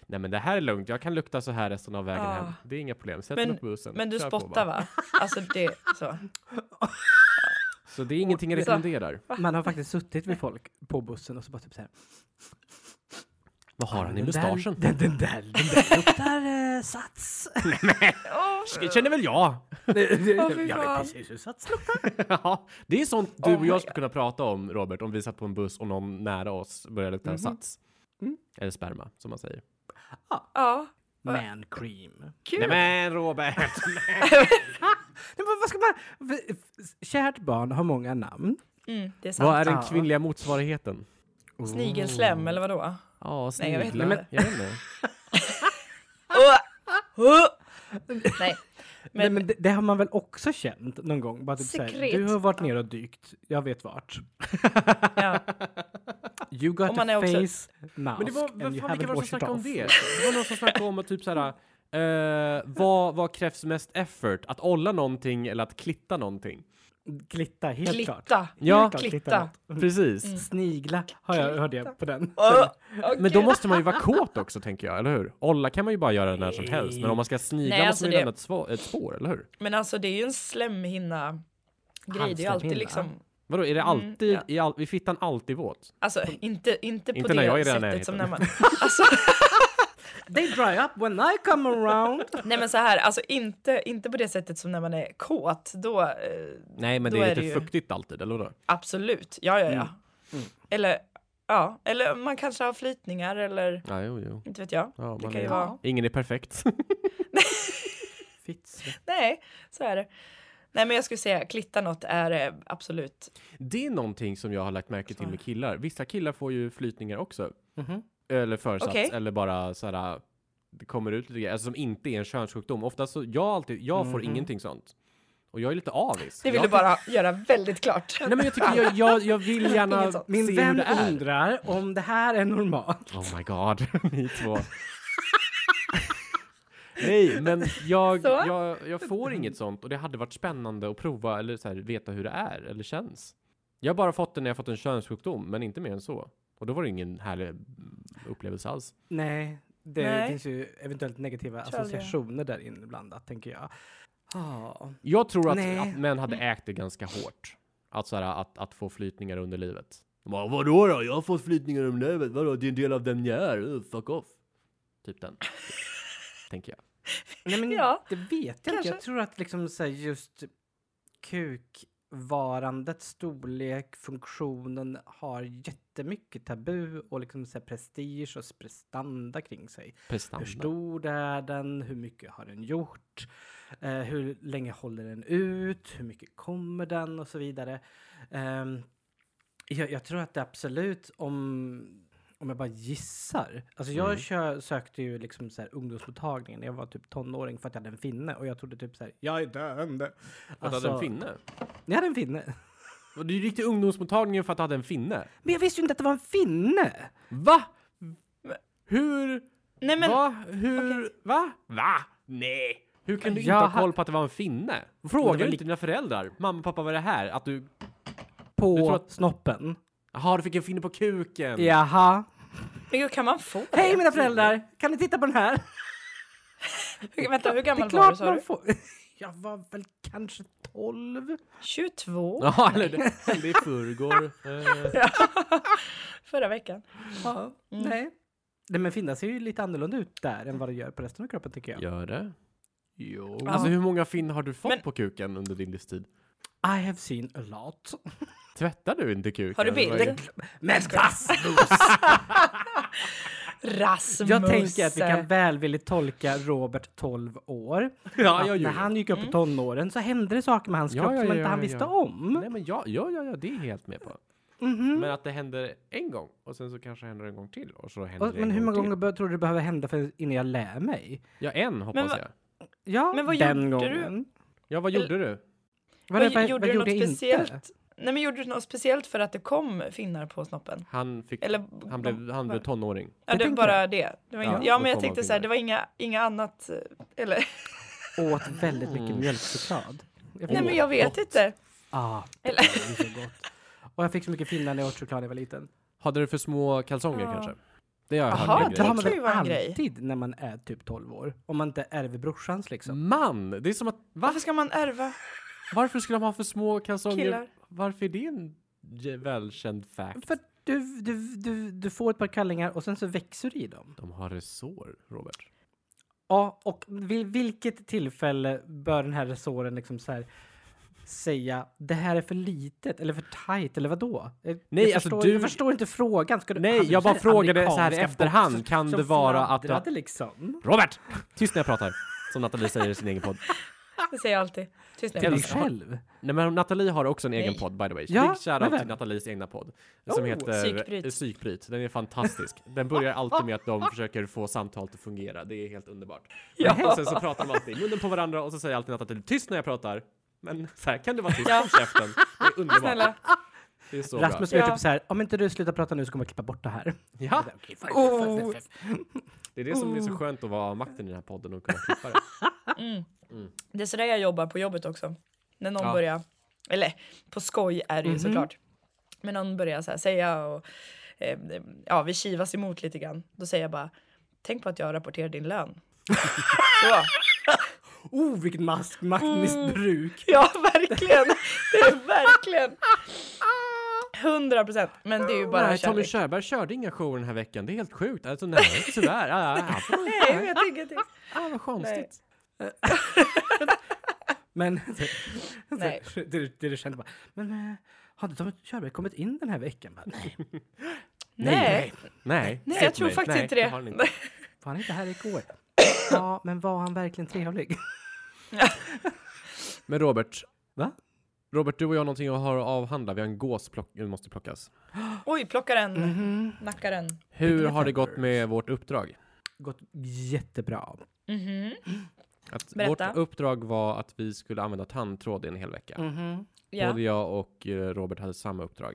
Speaker 3: nej men det här är lugnt. Jag kan lukta så här resten av vägen
Speaker 2: Ah.
Speaker 3: hem. Det är inga problem. Sätt
Speaker 2: Men-
Speaker 3: mig på bussen.
Speaker 2: Men du
Speaker 3: Kör på
Speaker 2: spottar
Speaker 3: bara."
Speaker 2: va? Alltså det, så.
Speaker 3: Så det är ingenting jag
Speaker 2: Så-
Speaker 3: rekommenderar.
Speaker 1: Man har faktiskt suttit med folk på bussen och så bara typ så här.
Speaker 3: Vad har han i
Speaker 1: "Den där-
Speaker 3: mustaschen?
Speaker 1: Den, den där, den där luktar eh, sats.
Speaker 3: Det känner väl jag.
Speaker 2: fy
Speaker 1: jag vet
Speaker 2: fan.
Speaker 1: precis hur sats luktar.
Speaker 3: ja, det är sånt du
Speaker 2: Oh
Speaker 3: och
Speaker 2: my
Speaker 3: jag
Speaker 2: God.
Speaker 3: skulle kunna prata om Robert om vi satt på en buss och någon nära oss började lukta
Speaker 2: Mm-hmm.
Speaker 3: sats.
Speaker 2: Mm.
Speaker 3: Eller sperma som man säger.
Speaker 2: Ja,
Speaker 1: Man cream.
Speaker 2: kul!
Speaker 3: Nej men Robert!
Speaker 1: Nej, men vad ska man... Kärt barn har många namn.
Speaker 2: Mm, det är sant.
Speaker 3: Vad är den
Speaker 1: Ja.
Speaker 3: kvinnliga motsvarigheten?
Speaker 2: Snigelslem eller vadå?
Speaker 3: Ja,
Speaker 2: Nej, jag vet
Speaker 3: sniglar.
Speaker 2: inte.
Speaker 3: Jag vet inte.
Speaker 2: Åh! Åh! Nej.
Speaker 1: Nej,
Speaker 2: Men,
Speaker 1: men det, det har man väl också känt någon gång? Bara typ så här,
Speaker 2: Sekret.
Speaker 1: du har varit ner och dykt, jag vet vart.
Speaker 2: ja.
Speaker 1: You got
Speaker 2: Och man
Speaker 1: a
Speaker 2: är också-
Speaker 1: face now.
Speaker 3: Men det var, vad fan, vilka var det som snackade om
Speaker 1: det?
Speaker 3: det? Det var någon som snackade om att typ såhär, eh, vad, vad krävs mest effort? Att olla någonting eller att klitta någonting?
Speaker 1: Klitta, helt klart.
Speaker 2: Klitta!
Speaker 3: Ja.
Speaker 1: klart
Speaker 2: Klitta.
Speaker 1: något.
Speaker 3: Precis.
Speaker 2: Mm.
Speaker 1: Snigla har jag, hörde jag på den.
Speaker 2: Åh, åh,
Speaker 3: Men då
Speaker 2: gud.
Speaker 3: måste man ju vara kåt också tänker jag, eller hur? Olla kan man ju bara göra när som helst, men om man ska snigla
Speaker 2: Nej,
Speaker 3: måste
Speaker 2: alltså
Speaker 3: man ju
Speaker 2: det-
Speaker 3: lämna ett, svå- ett spår, eller hur?
Speaker 2: Men alltså det är ju en slemhinna grej. Det är ju
Speaker 1: Handslemhinna.
Speaker 2: alltid liksom.
Speaker 3: Vadå, är det
Speaker 2: Mm,
Speaker 3: alltid,
Speaker 2: ja.
Speaker 3: är all, är fittan alltid våt?
Speaker 2: Alltså inte, inte på
Speaker 3: Inte
Speaker 2: det
Speaker 3: när jag är i den
Speaker 2: sättet som när man.
Speaker 3: närheten.
Speaker 2: Alltså,
Speaker 1: They dry up when I come around.
Speaker 2: nej men så här, alltså inte, inte på det sättet som när man är kåt. Då eh,
Speaker 3: Nej, men
Speaker 2: Då
Speaker 3: det är,
Speaker 2: är det
Speaker 3: lite
Speaker 2: ju-
Speaker 3: fuktigt alltid, eller vadå?
Speaker 2: absolut, ja ja ja.
Speaker 1: Mm.
Speaker 2: Eller ja, eller man kanske har flytningar eller
Speaker 3: Ja, jo, jo.
Speaker 2: inte vet jag.
Speaker 3: Ja,
Speaker 2: Det
Speaker 3: man
Speaker 2: kan ju
Speaker 3: är...
Speaker 2: vara.
Speaker 3: Ingen är perfekt.
Speaker 1: Fitts.
Speaker 2: Nej, så är det. Nej men jag skulle säga klitta något är eh, absolut.
Speaker 3: Det är någonting som jag har lagt märke till med killar. Vissa killar får ju flytningar också.
Speaker 1: Mhm.
Speaker 3: Eller försats,
Speaker 2: Okej.
Speaker 3: eller bara så här. Det kommer ut lite grejer, alltså som inte är en könssjukdom. Ofta så, jag, alltid, jag
Speaker 1: Mhm.
Speaker 3: får ingenting sånt. Och jag är lite avis.
Speaker 2: Det vill
Speaker 3: jag,
Speaker 2: du bara göra väldigt klart.
Speaker 3: Nej men jag tycker, jag, jag, jag vill
Speaker 2: Inget
Speaker 3: gärna
Speaker 2: sånt.
Speaker 1: Min
Speaker 3: se hur
Speaker 1: vän
Speaker 3: det är.
Speaker 1: undrar om det här är normalt.
Speaker 3: Oh my god, ni två. Nej, men jag,
Speaker 2: Så?
Speaker 3: jag, jag får inget sånt och det hade varit spännande att prova eller så här, veta hur det är eller känns. Jag har bara fått det när jag fått en könssjukdom, men inte mer än så. Och då var det ingen härlig mm, upplevelse alls.
Speaker 1: Nej, Det
Speaker 2: Nej.
Speaker 1: finns ju eventuellt negativa
Speaker 2: Tror aldrig.
Speaker 1: associationer där inblandat, tänker jag. Ah.
Speaker 3: Jag tror att,
Speaker 1: Nej.
Speaker 3: att män hade ägt det ganska hårt. Att, så här, att, att få flytningar under livet. De Bara, vadå då? Jag har fått flytningar under livet. Vadå? Det är en del av den jag är. Uh, fuck off. Typ den. Tänker jag.
Speaker 1: Nej, men
Speaker 2: Ja,
Speaker 1: det vet jag inte.
Speaker 2: kanske.
Speaker 1: Jag tror att liksom så här just kukvarandet, storlek, funktionen har jättemycket tabu och liksom så här prestige och prestanda kring sig. Hur
Speaker 3: Prestanda.
Speaker 1: stor är den? Hur mycket har den gjort? Eh, hur länge håller den ut? Hur mycket kommer den? Och så vidare. Ehm, jag, jag tror att det absolut, om, om jag bara gissar. Alltså jag
Speaker 3: Mm.
Speaker 1: kö, sökte ju liksom så här ungdomsmottagningen när jag var typ tonåring för att jag hade en finne. Och jag trodde typ så här, jag är döende.
Speaker 3: Att du hade en finne?
Speaker 1: Jag hade en finne.
Speaker 3: Alltså- Och Du gick till ungdomsmottagningen för att du hade en finne?
Speaker 1: Men jag visste ju inte att det var en finne!
Speaker 3: Va? Hur?
Speaker 2: Nej men
Speaker 3: va? Hur? Va? Va? Nej. Hur kan du inte
Speaker 1: Jag
Speaker 3: ha
Speaker 1: ha-
Speaker 3: koll på att det var en finne?
Speaker 1: Men det
Speaker 3: Frågar
Speaker 1: var
Speaker 3: du inte dina föräldrar? Mamma, pappa, vad är det här? Att du... Du
Speaker 1: På
Speaker 3: tror att- Mm.
Speaker 1: snoppen.
Speaker 3: Jaha, du fick en finne på kuken.
Speaker 1: Jaha.
Speaker 2: Men gud, kan man få det?
Speaker 1: Hej mina föräldrar! Kan ni titta på den här?
Speaker 2: Hur, vänta, hur
Speaker 1: Det är
Speaker 2: gammal var du
Speaker 1: klart
Speaker 2: sa
Speaker 1: man
Speaker 2: du?
Speaker 1: får. Jag var väl kanske 12.
Speaker 2: 22?
Speaker 3: Ja, eller det hände i förrgår. Eh,
Speaker 2: Förra veckan.
Speaker 1: Ja, nej. Mm. Nej men finnar ser ju lite annorlunda ut där än vad det gör på resten av kroppen tycker jag.
Speaker 3: Gör det? Jo.
Speaker 1: Ja.
Speaker 3: Alltså hur många finn har du fått
Speaker 2: Men-
Speaker 3: på kuken under din livstid?
Speaker 1: I have seen a lot.
Speaker 3: Tvättar du inte kuken?
Speaker 2: Har du
Speaker 3: Eller vad
Speaker 2: bild?
Speaker 3: är det?
Speaker 1: Men Rasmus!
Speaker 2: Rasmus.
Speaker 1: Jag tänker att vi kan välvilligt tolka Robert 12 år.
Speaker 3: Ja, jag
Speaker 1: Att när
Speaker 3: gör det.
Speaker 1: han gick upp
Speaker 2: Mm.
Speaker 1: i tonåren så hände det saker med hans
Speaker 3: Ja,
Speaker 1: kropp
Speaker 3: ja,
Speaker 1: som
Speaker 3: ja,
Speaker 1: inte
Speaker 3: ja,
Speaker 1: han
Speaker 3: ja,
Speaker 1: visste
Speaker 3: ja.
Speaker 1: om.
Speaker 3: Nej men ja, ja, ja, ja, det är jag helt med på.
Speaker 1: Mhm.
Speaker 3: Men att det händer en gång och sen så kanske händer det en gång till och så händer
Speaker 1: Och,
Speaker 3: det
Speaker 1: men
Speaker 3: en
Speaker 1: hur många
Speaker 3: gång
Speaker 1: gånger be- tror du det behöver hända för, innan jag lär mig?
Speaker 3: till. Ja, en hoppas
Speaker 2: Men va-
Speaker 3: jag.
Speaker 1: Ja,
Speaker 2: Men vad
Speaker 1: den
Speaker 2: gjorde du?
Speaker 1: gången.
Speaker 3: Ja, vad gjorde du?
Speaker 1: Vad,
Speaker 2: Vad
Speaker 1: det- vad,
Speaker 2: gjorde
Speaker 1: vad
Speaker 2: du
Speaker 1: gjorde
Speaker 2: något
Speaker 1: jag inte?
Speaker 2: speciellt? Nej men gjorde du något speciellt för att det kom finnar på snoppen?
Speaker 3: Han fick...
Speaker 2: Eller
Speaker 3: Han blev, han blev tonåring.
Speaker 2: ja, det var
Speaker 1: tänker
Speaker 2: bara det. det var
Speaker 3: Ja,
Speaker 2: ja,
Speaker 3: då
Speaker 2: ja men
Speaker 3: kom
Speaker 2: jag tänkte
Speaker 3: allting
Speaker 2: så här,
Speaker 3: där.
Speaker 2: det var inga, inga annat. eh, Eller
Speaker 1: Åt väldigt mycket
Speaker 3: Mm.
Speaker 1: mjölkchoklad.
Speaker 2: nej
Speaker 1: Jag fick-
Speaker 2: men jag vet inte.
Speaker 1: Ah,
Speaker 2: Eller-
Speaker 1: det är så gott. Och jag fick så mycket finnar när jag åt choklad när jag var liten.
Speaker 3: Hade du för små kalsonger
Speaker 2: Ja.
Speaker 3: kanske? Det har jag
Speaker 2: Jaha,
Speaker 3: hört. en
Speaker 1: det
Speaker 3: grej
Speaker 1: har
Speaker 3: också.
Speaker 1: man
Speaker 2: kan ju
Speaker 1: väl
Speaker 2: vara en grej.
Speaker 1: alltid när man är typ 12 år? Om man inte ärver brorsans liksom.
Speaker 3: Man! Det är som att... Va?
Speaker 2: Varför ska man ärva
Speaker 3: Varför skulle de ha för små kalsonger?
Speaker 2: killar?
Speaker 3: Varför är det en j- välkänd fact?
Speaker 1: För att du, du, du, du får ett par kallingar och sen så växer du i dem.
Speaker 3: De har resår, Robert.
Speaker 1: Ja, och vid vilket tillfälle bör den här resåren liksom så här säga det här är för litet eller för tajt eller vadå? Jag,
Speaker 3: Nej,
Speaker 1: jag,
Speaker 3: alltså,
Speaker 1: förstår,
Speaker 3: du-
Speaker 1: jag förstår inte frågan. Ska du,
Speaker 3: Nej,
Speaker 1: hade du
Speaker 3: jag bara
Speaker 1: här
Speaker 3: frågade så här i
Speaker 1: amerikanska
Speaker 3: efterhand,
Speaker 1: boxers
Speaker 3: kan
Speaker 1: som
Speaker 3: det vara att du-
Speaker 1: fladdrade, liksom?
Speaker 3: Robert! Tyst när jag pratar. Som Nathalie säger i sin egen podd.
Speaker 2: Det säger jag alltid. Tyst
Speaker 1: Ah! Till
Speaker 2: nu.
Speaker 1: dig
Speaker 3: Älskar-
Speaker 1: själv?
Speaker 3: Nej men Nathalie har också en egen
Speaker 2: Nej.
Speaker 3: podd by the way.
Speaker 1: Ja,
Speaker 3: Big
Speaker 1: men
Speaker 3: shoutout
Speaker 1: vem?
Speaker 3: till Nathalies egna podd. Som
Speaker 1: Oh,
Speaker 3: heter
Speaker 2: Psykbryt.
Speaker 3: eh, Psykbryt. Den är fantastisk. Den börjar alltid med att de försöker få samtalet att fungera. Det är helt underbart.
Speaker 2: Ja.
Speaker 3: Och sen så pratar de alltid i munnen på varandra och så säger alltid Nathalie tyst när jag pratar. Men så här kan du vara tyst om käften. Det är underbart.
Speaker 2: Snälla.
Speaker 3: Det är så
Speaker 1: Rasmus
Speaker 3: bra.
Speaker 1: blev
Speaker 2: Ja.
Speaker 1: typ så här, om inte du slutar prata nu så kommer jag klippa bort det här.
Speaker 3: Ja,
Speaker 1: Okej, fine,
Speaker 2: Oh.
Speaker 1: fine, fine, fine.
Speaker 3: det är det som är så skönt att vara makten i den här podden och kunna klippa det.
Speaker 2: Det är sådär jag jobbar på jobbet också. När någon
Speaker 3: Ja.
Speaker 2: börjar, eller på skoj är det
Speaker 1: Mhm.
Speaker 2: ju såklart. Men någon börjar så här säga och eh, ja, vi kivas emot lite grann. Då säger jag bara, tänk på att jag rapporterar din lön. så.
Speaker 1: Oh, vilket mas- maktmissbruk!
Speaker 2: Ja, verkligen. Det är verkligen. 100 procent. Men det är ju bara
Speaker 3: Nej, Tommy
Speaker 2: kärlek.
Speaker 3: Körberg körde inga shower den här veckan. Det är helt sjukt. Alltså nej, tyvärr. Ah, ah, ah,
Speaker 2: Nej, jag vet ingenting.
Speaker 3: ah, vad
Speaker 2: Nej.
Speaker 3: konstigt.
Speaker 1: Men...
Speaker 2: Nej.
Speaker 1: Det, det, det kände bara, men eh, har inte Tommy Körberg kommit in den här veckan? Bara, nej,
Speaker 2: Nej,
Speaker 3: Nej,
Speaker 2: nej
Speaker 3: säg
Speaker 2: jag
Speaker 3: till
Speaker 2: tror
Speaker 3: mig.
Speaker 2: faktiskt
Speaker 3: Nej,
Speaker 2: inte
Speaker 3: det har den
Speaker 2: det.
Speaker 3: inte.
Speaker 1: var han inte här igår? Ja, men var han verkligen trevlig?
Speaker 3: Men Robert.
Speaker 1: Va?
Speaker 3: Robert, du och jag har någonting att ha att avhandla. Vi har en gås plock- eh, måste plockas.
Speaker 2: Oj, plocka den.
Speaker 1: Mm.
Speaker 2: Nacka den.
Speaker 3: Hur
Speaker 1: the
Speaker 3: har det gått
Speaker 1: peppers.
Speaker 3: med vårt uppdrag?
Speaker 1: Gått jättebra.
Speaker 2: Mhm.
Speaker 3: Att
Speaker 2: Berätta. Mm,
Speaker 3: Vårt uppdrag var att vi skulle använda tandtråd i en hel vecka.
Speaker 2: Ja.
Speaker 3: Både jag och eh, Robert hade samma uppdrag.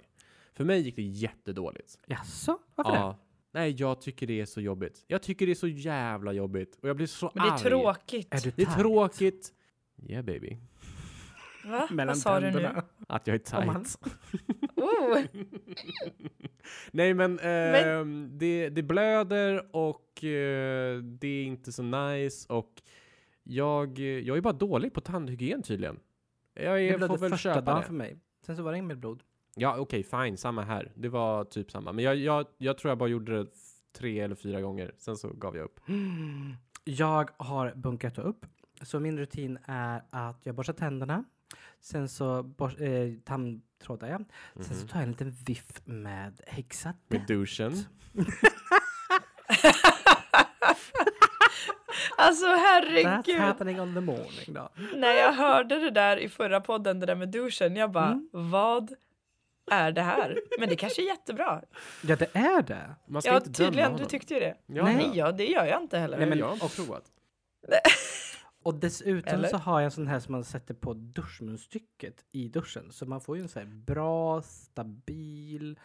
Speaker 3: För mig gick det jättedåligt.
Speaker 1: Jaså, varför det?
Speaker 3: Nej, jag tycker det är så jobbigt. Jag tycker det är så jävla jobbigt. Och jag blir så
Speaker 2: Men det är
Speaker 3: arg.
Speaker 2: tråkigt.
Speaker 1: Är du
Speaker 3: Det är
Speaker 1: tight?
Speaker 3: tråkigt. Yeah baby.
Speaker 2: Va?
Speaker 1: Mellan
Speaker 2: Vad sa du nu?
Speaker 1: tänderna.
Speaker 3: Att jag är
Speaker 1: Om han-
Speaker 3: tight.
Speaker 2: Oh.
Speaker 3: Nej men, eh, Det, det blöder och eh, det är inte så nice och jag, jag är bara dålig på tandhygien tydligen. Jag
Speaker 1: Det
Speaker 3: är,
Speaker 1: blev
Speaker 3: får
Speaker 1: det
Speaker 3: väl
Speaker 1: första
Speaker 3: köpa
Speaker 1: dagen
Speaker 3: det.
Speaker 1: för mig. Sen så var det inget mer blod.
Speaker 3: Ja okej fine, samma här. Det var typ samma. Men jag, jag, jag tror jag bara gjorde det tre eller fyra gånger, sen så gav jag upp.
Speaker 1: Jag har bunkrat upp. Så min rutin är att jag borstar tänderna. Sen så bors- eh, tandtrådar jag. Sen
Speaker 2: Mhm.
Speaker 1: så tar jag en liten viff med
Speaker 3: Med
Speaker 1: Hexadent.
Speaker 3: duschen.
Speaker 2: Alltså
Speaker 1: That's
Speaker 2: herregud.
Speaker 1: happening on the morning då.
Speaker 2: När jag hörde det där i förra podden, det där med duschen, jag bara vad är det här? Men det kanske är jättebra.
Speaker 1: Ja, det är det.
Speaker 3: Man ska
Speaker 2: Ja
Speaker 3: inte döma
Speaker 2: tydligen, du
Speaker 3: honom.
Speaker 2: tyckte ju det.
Speaker 3: Ja,
Speaker 1: Nej.
Speaker 2: Nej, ja, det gör jag inte heller.
Speaker 1: Nej, men-
Speaker 3: men jag har
Speaker 1: och-
Speaker 3: inte provat.
Speaker 1: Och dessutom
Speaker 2: Eller?
Speaker 1: så har jag en sån här som man sätter på duschmunstycket i duschen. Så man får ju en sån här bra, stabil,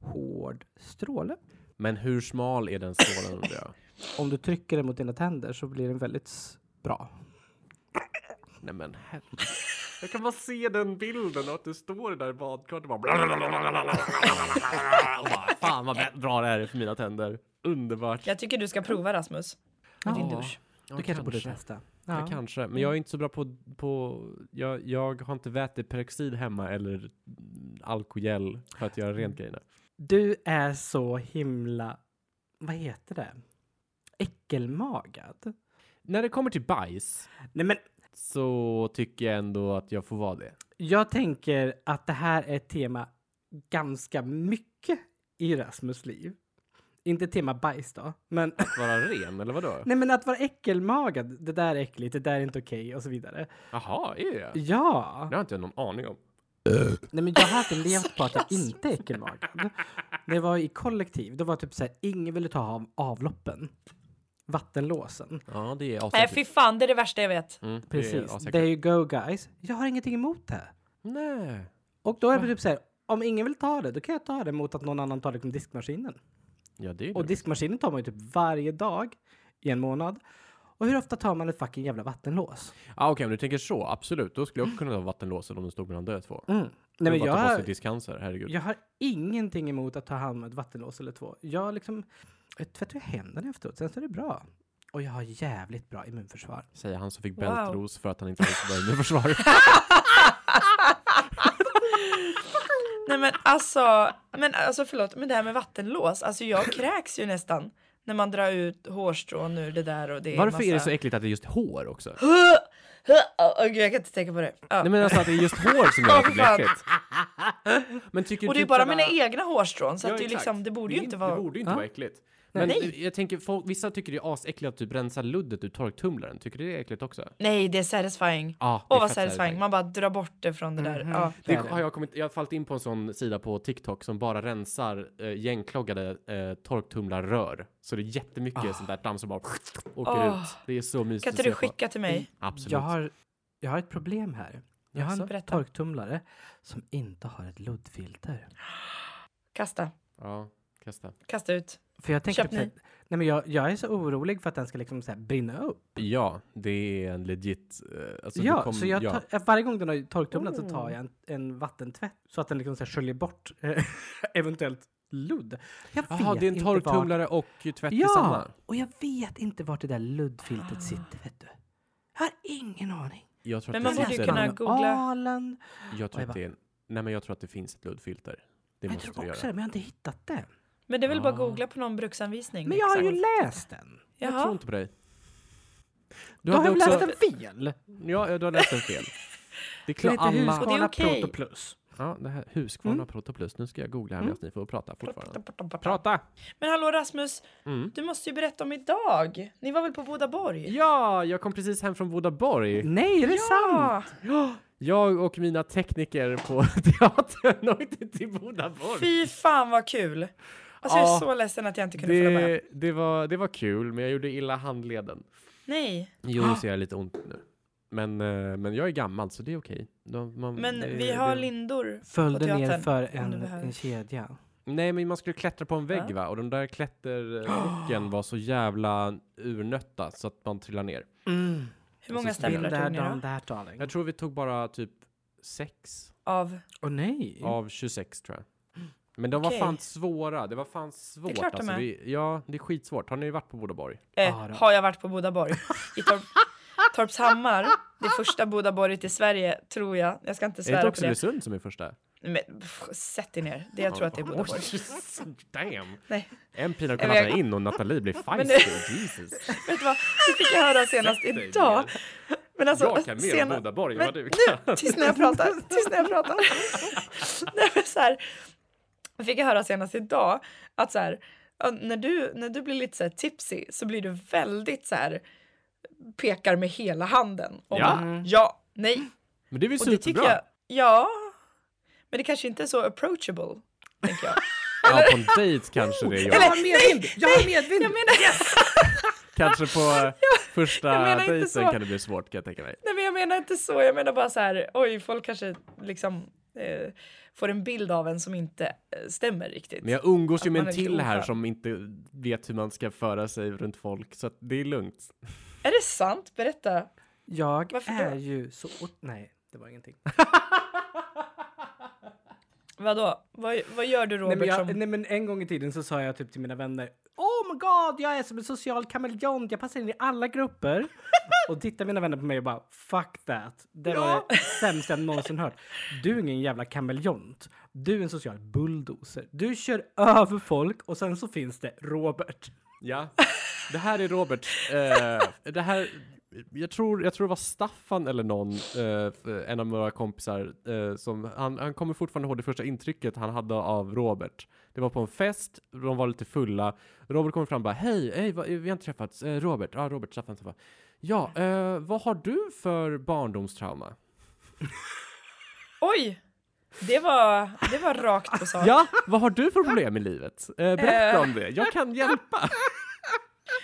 Speaker 1: hård stråle.
Speaker 3: Men hur smal är den strålen undrar jag?
Speaker 1: Om du trycker den mot dina tänder så blir den väldigt s- bra.
Speaker 3: Nej men herregud. Jag kan bara se den bilden och att du står där i badkaret och bara... och bara Fan vad bra det här är för mina tänder. Underbart.
Speaker 2: Jag tycker du ska prova Rasmus. Med din
Speaker 1: Ja.
Speaker 2: dusch.
Speaker 1: Du kanske borde testa.
Speaker 3: Ja.
Speaker 1: Ja.
Speaker 3: kanske, men jag är inte så bra på... på jag, jag har inte väteperoxid hemma eller alkogel för att göra rent grejerna.
Speaker 1: Du är så himla, vad heter det? Äckelmagad.
Speaker 3: När det kommer till bajs
Speaker 1: Nej men
Speaker 3: så tycker jag ändå att jag får vara det.
Speaker 1: jag tänker att det här är ett tema ganska mycket i Rasmus liv. Inte tema bajs då, men
Speaker 3: Att vara ren, eller vadå?
Speaker 1: nej men att vara äckelmagad. Det där är äckligt, det där är inte okej och så vidare.
Speaker 3: Jaha, är jag?
Speaker 1: Ja,
Speaker 3: Det har inte jag någon aning om.
Speaker 1: nej men jag har alltid levt på att jag inte är äckelmagad. Det var i kollektiv, då var typ så här, ingen ville ta av avloppen. Vattenlåsen.
Speaker 3: Ja, det är
Speaker 2: Nej,
Speaker 3: asäckligt.
Speaker 2: fy fan, det är det värsta jag vet.
Speaker 3: Mm, det är
Speaker 1: Precis.
Speaker 3: asäckligt.
Speaker 1: There you go guys. Jag har ingenting emot det.
Speaker 3: Nej.
Speaker 1: Och då är det typ så här, om ingen vill ta det, då kan jag ta det mot att någon annan tar liksom diskmaskinen.
Speaker 3: Ja, det är
Speaker 1: Och
Speaker 3: det.
Speaker 1: diskmaskinen tar man ju typ varje dag i en månad. Och hur ofta tar man ett fucking jävla vattenlås?
Speaker 3: Ah, Okej, om du tänker så, absolut. Då skulle jag också kunna ta vattenlåset om det stod mellan de två.
Speaker 1: Mm.
Speaker 3: Det är
Speaker 1: Nej, men
Speaker 3: bara att ta på sig
Speaker 1: jag,
Speaker 3: diskhandsar, herregud.
Speaker 1: jag har ingenting emot att ta hand om ett vattenlås eller två. Jag liksom, jag tvättar ju händerna efteråt, sen så är det bra. Och jag har jävligt bra immunförsvar.
Speaker 3: Säger han som fick
Speaker 2: Wow.
Speaker 3: bältros för att han inte hade så bra immunförsvar.
Speaker 2: Nej men alltså, men alltså förlåt, men det här med vattenlås, alltså jag kräks ju nästan när man drar ut hårstrån ur det där och det är
Speaker 3: Varför
Speaker 2: massa...
Speaker 3: är det så äckligt att det är just hår också?
Speaker 2: Åh gud, jag kan inte tänka på det. Ja.
Speaker 3: Nej men alltså att det är just hår som gör att det blir
Speaker 2: Åh, fan.
Speaker 3: äckligt. Men tycker
Speaker 2: och det är
Speaker 3: typ
Speaker 2: bara
Speaker 3: sådär-
Speaker 2: mina egna hårstrån så
Speaker 3: Ja,
Speaker 2: att det, är
Speaker 3: exakt.
Speaker 2: liksom, det borde
Speaker 3: är
Speaker 2: ju inte vara...
Speaker 3: Det borde ju inte
Speaker 1: Ja.
Speaker 3: vara äckligt. Men
Speaker 2: Nej.
Speaker 3: jag tänker, folk, vissa tycker det är asäckligt att du rensar luddet ur torktumlaren. Tycker du det är äckligt också?
Speaker 2: Nej, det är satisfying.
Speaker 3: Ja, det är
Speaker 2: Åh vad
Speaker 3: fett Mhm.
Speaker 2: satisfying, man bara drar bort det från det där. Ja.
Speaker 1: Det
Speaker 3: Det
Speaker 1: är det.
Speaker 3: har jag, kommit, jag har fallit in på en sån sida på TikTok som bara rensar eh, gängkloggade eh, torktumlarrör. Så det är jättemycket
Speaker 1: Ah.
Speaker 3: sånt där damm som bara åker
Speaker 2: Ah.
Speaker 3: ut. Det är så mysigt
Speaker 2: Kan inte
Speaker 3: att se
Speaker 2: du
Speaker 3: på. Mm.
Speaker 2: skicka till mig?
Speaker 3: Absolut.
Speaker 1: Jag har, jag har ett problem här. Jag har en
Speaker 2: Jaså? Berätta.
Speaker 1: torktumlare som inte har ett luddfilter.
Speaker 2: Kasta,
Speaker 3: Ja, kasta.
Speaker 2: kasta ut.
Speaker 1: För jag tänker
Speaker 2: Köp
Speaker 1: typ så här,
Speaker 2: ny.
Speaker 1: nej men jag, jag är så orolig för att den ska liksom så här brinna upp.
Speaker 3: Ja, det är en legit... eh, Alltså
Speaker 1: ja,
Speaker 3: du kom,
Speaker 1: så jag
Speaker 3: ja.
Speaker 1: tar, eh, varje gång den har torktumlat så
Speaker 2: Oh.
Speaker 1: tar jag en, en vattentvätt så att den liksom så här sköljer bort eh, eventuellt ludd. Jag
Speaker 3: Jaha,
Speaker 1: vet
Speaker 3: det är en
Speaker 1: inte vart-
Speaker 3: torktumlare och tvätt i
Speaker 1: Ja,
Speaker 3: samma.
Speaker 1: och jag vet inte vart det där
Speaker 2: Ah.
Speaker 1: luddfiltret sitter, vet du. Jag har ingen aning.
Speaker 3: Jag tror
Speaker 2: Men
Speaker 3: att
Speaker 2: man
Speaker 3: det
Speaker 2: borde ju
Speaker 3: finns en-
Speaker 2: kunna googla.
Speaker 1: Manualen.
Speaker 3: Jag tror
Speaker 1: Och jag
Speaker 3: att det är en, Nej men jag tror att det finns ett luddfilter. Det
Speaker 1: Jag
Speaker 3: måste
Speaker 1: tror
Speaker 3: du
Speaker 1: också det,
Speaker 3: göra.
Speaker 1: men jag har inte hittat det.
Speaker 2: Men det är väl bara
Speaker 3: Ah.
Speaker 2: att googla på någon bruksanvisning.
Speaker 1: Men jag har ju
Speaker 2: Exakt.
Speaker 1: läst den.
Speaker 3: Jag
Speaker 2: Jaha.
Speaker 3: tror inte på dig. Du
Speaker 1: Då har
Speaker 3: hade
Speaker 1: jag väl läst
Speaker 3: också...
Speaker 1: den fel.
Speaker 3: Ja, du har läst den fel. Det är
Speaker 1: Det
Speaker 3: klart
Speaker 1: heter
Speaker 3: alla...
Speaker 2: Och det är
Speaker 1: Husqvarna
Speaker 2: okej.
Speaker 1: Proto Plus.
Speaker 3: Ja, det här Husqvarna
Speaker 2: Mm.
Speaker 3: Protoplus. Nu ska jag googla här medan ni får prata fortfarande. Prata!
Speaker 2: Men hallå Rasmus,
Speaker 3: Mm.
Speaker 2: du måste ju berätta om idag. Ni var väl på Bodaborg?
Speaker 3: Ja, jag kom precis hem från
Speaker 2: Mm.
Speaker 3: Bodaborg.
Speaker 1: Nej, är det sant?
Speaker 3: Jag och mina tekniker på teatern åkte till Bodaborg.
Speaker 2: Fy fan vad kul! Alltså jag är
Speaker 3: Ja.
Speaker 2: så ledsen att jag inte kunde följa med.
Speaker 3: Det, det, var, det var kul, men jag gjorde illa handleden.
Speaker 2: Nej,
Speaker 3: Jo, nu ser jag lite ont nu. Men, eh, men jag är gammal, så det är okej. De- man-
Speaker 2: men
Speaker 3: det-
Speaker 2: vi har
Speaker 3: det-
Speaker 2: lindor.
Speaker 1: Följde
Speaker 2: På
Speaker 1: ner
Speaker 2: teatern,
Speaker 1: för
Speaker 2: om
Speaker 1: en,
Speaker 2: du behöver.
Speaker 1: en kedja.
Speaker 3: Nej, men man skulle klättra på en vägg,
Speaker 2: Ja.
Speaker 3: va? Och de där klätterrocken var så jävla urnötta så att man trillar ner.
Speaker 1: Mm.
Speaker 2: Hur många
Speaker 3: Och Alltså, så spelar
Speaker 2: stövlar
Speaker 1: Been there,
Speaker 2: tog ni då?
Speaker 1: done that darling.
Speaker 3: Jag tror vi tog bara typ 6
Speaker 2: Av...
Speaker 1: Åh nej!
Speaker 3: av 26 tror jag. Men de var
Speaker 2: Okej.
Speaker 3: fan svåra. Det var fan svårt.
Speaker 2: klart de
Speaker 3: alltså.
Speaker 2: är.
Speaker 3: Vi, ja, det är skitsvårt. Har ni varit på Bodaborg?
Speaker 2: Eh,
Speaker 1: Ah, då.
Speaker 2: har jag varit på Bodaborg. I Torp, Torpshammar, det första Bodaborget i Sverige, tror jag. Jag ska
Speaker 3: Är det inte
Speaker 2: inte svära på det.
Speaker 3: Oxelösund som är första?
Speaker 2: Men, pff, sätt dig ner. Det, jag tror att det är Bodaborg.
Speaker 3: Damn!
Speaker 2: Nej.
Speaker 3: En pina
Speaker 2: Men jag-
Speaker 3: colada in och Nathalie blir feisty. Jesus.
Speaker 2: Vet du vad? Det fick jag höra senast
Speaker 3: Sätt dig
Speaker 2: idag.
Speaker 3: ner.
Speaker 2: Men alltså,
Speaker 3: Jag kan mer om
Speaker 2: sena-
Speaker 3: Bodaborg än
Speaker 2: Men
Speaker 3: vad du kan.
Speaker 2: nu, tyst när jag pratar. Tyst när jag pratar. Nej, men så här, jag fick höra senast idag att så här, ja, när, du, när du blir lite så här tipsy så blir du väldigt så här pekar med hela handen. Och
Speaker 3: Ja.
Speaker 2: bara, ja, nej.
Speaker 3: Men det är väl
Speaker 2: Och det tycker
Speaker 3: superbra?
Speaker 2: jag, ja. Men det kanske inte är så approachable, tänker jag.
Speaker 3: Ja, på en dejt kanske det är jag.
Speaker 1: Jag har medvind! Jag har medvind!
Speaker 2: Jag menar,
Speaker 3: Kanske på eh, första
Speaker 2: jag menar inte
Speaker 3: dejten
Speaker 2: så.
Speaker 3: kan det bli svårt kan jag tänka mig.
Speaker 2: Nej men jag menar inte så, jag menar bara så här, oj folk kanske liksom eh, får en bild av en som inte eh, stämmer riktigt.
Speaker 3: Men jag umgås ju
Speaker 2: Att
Speaker 3: med
Speaker 2: man
Speaker 3: en
Speaker 2: är lite
Speaker 3: till här
Speaker 2: oskön.
Speaker 3: som inte vet hur man ska föra sig runt folk, så att det är lugnt.
Speaker 2: Är det sant? Berätta.
Speaker 1: Jag
Speaker 2: Varför
Speaker 1: är
Speaker 2: då?
Speaker 1: ju så... ot- Nej, det var ingenting.
Speaker 2: Vadå? Vad, vad gör du
Speaker 1: Nej
Speaker 2: Robert
Speaker 1: men, jag,
Speaker 2: som...
Speaker 1: nej men en gång i tiden så sa jag typ till mina vänner Oh my god, jag är som en social kameleont, jag passar in i alla grupper. och tittar mina vänner på mig och bara fuck that. Det var
Speaker 2: Ja.
Speaker 1: det sämsta jag någonsin hört. Du är ingen jävla kameleont. Du är en social bulldozer. Du kör över folk och sen så finns det Robert.
Speaker 3: Ja, det här är Robert. Eh, det här, jag tror, jag tror det var Staffan eller någon, eh, en av våra kompisar, eh, som, han, han kommer fortfarande ihåg det första intrycket han hade av Robert. Det var på en fest, de var lite fulla. Robert kommer fram och bara, hej, hej, vad- vi har inte träffats. Eh, Robert, ja, Robert, Staffan, Staffan. Ja, eh, vad har du för barndomstrauma?
Speaker 2: Oj! Det var, det var rakt på sak.
Speaker 3: Ja, vad har du för problem i livet? Eh, berätta om det, jag kan hjälpa.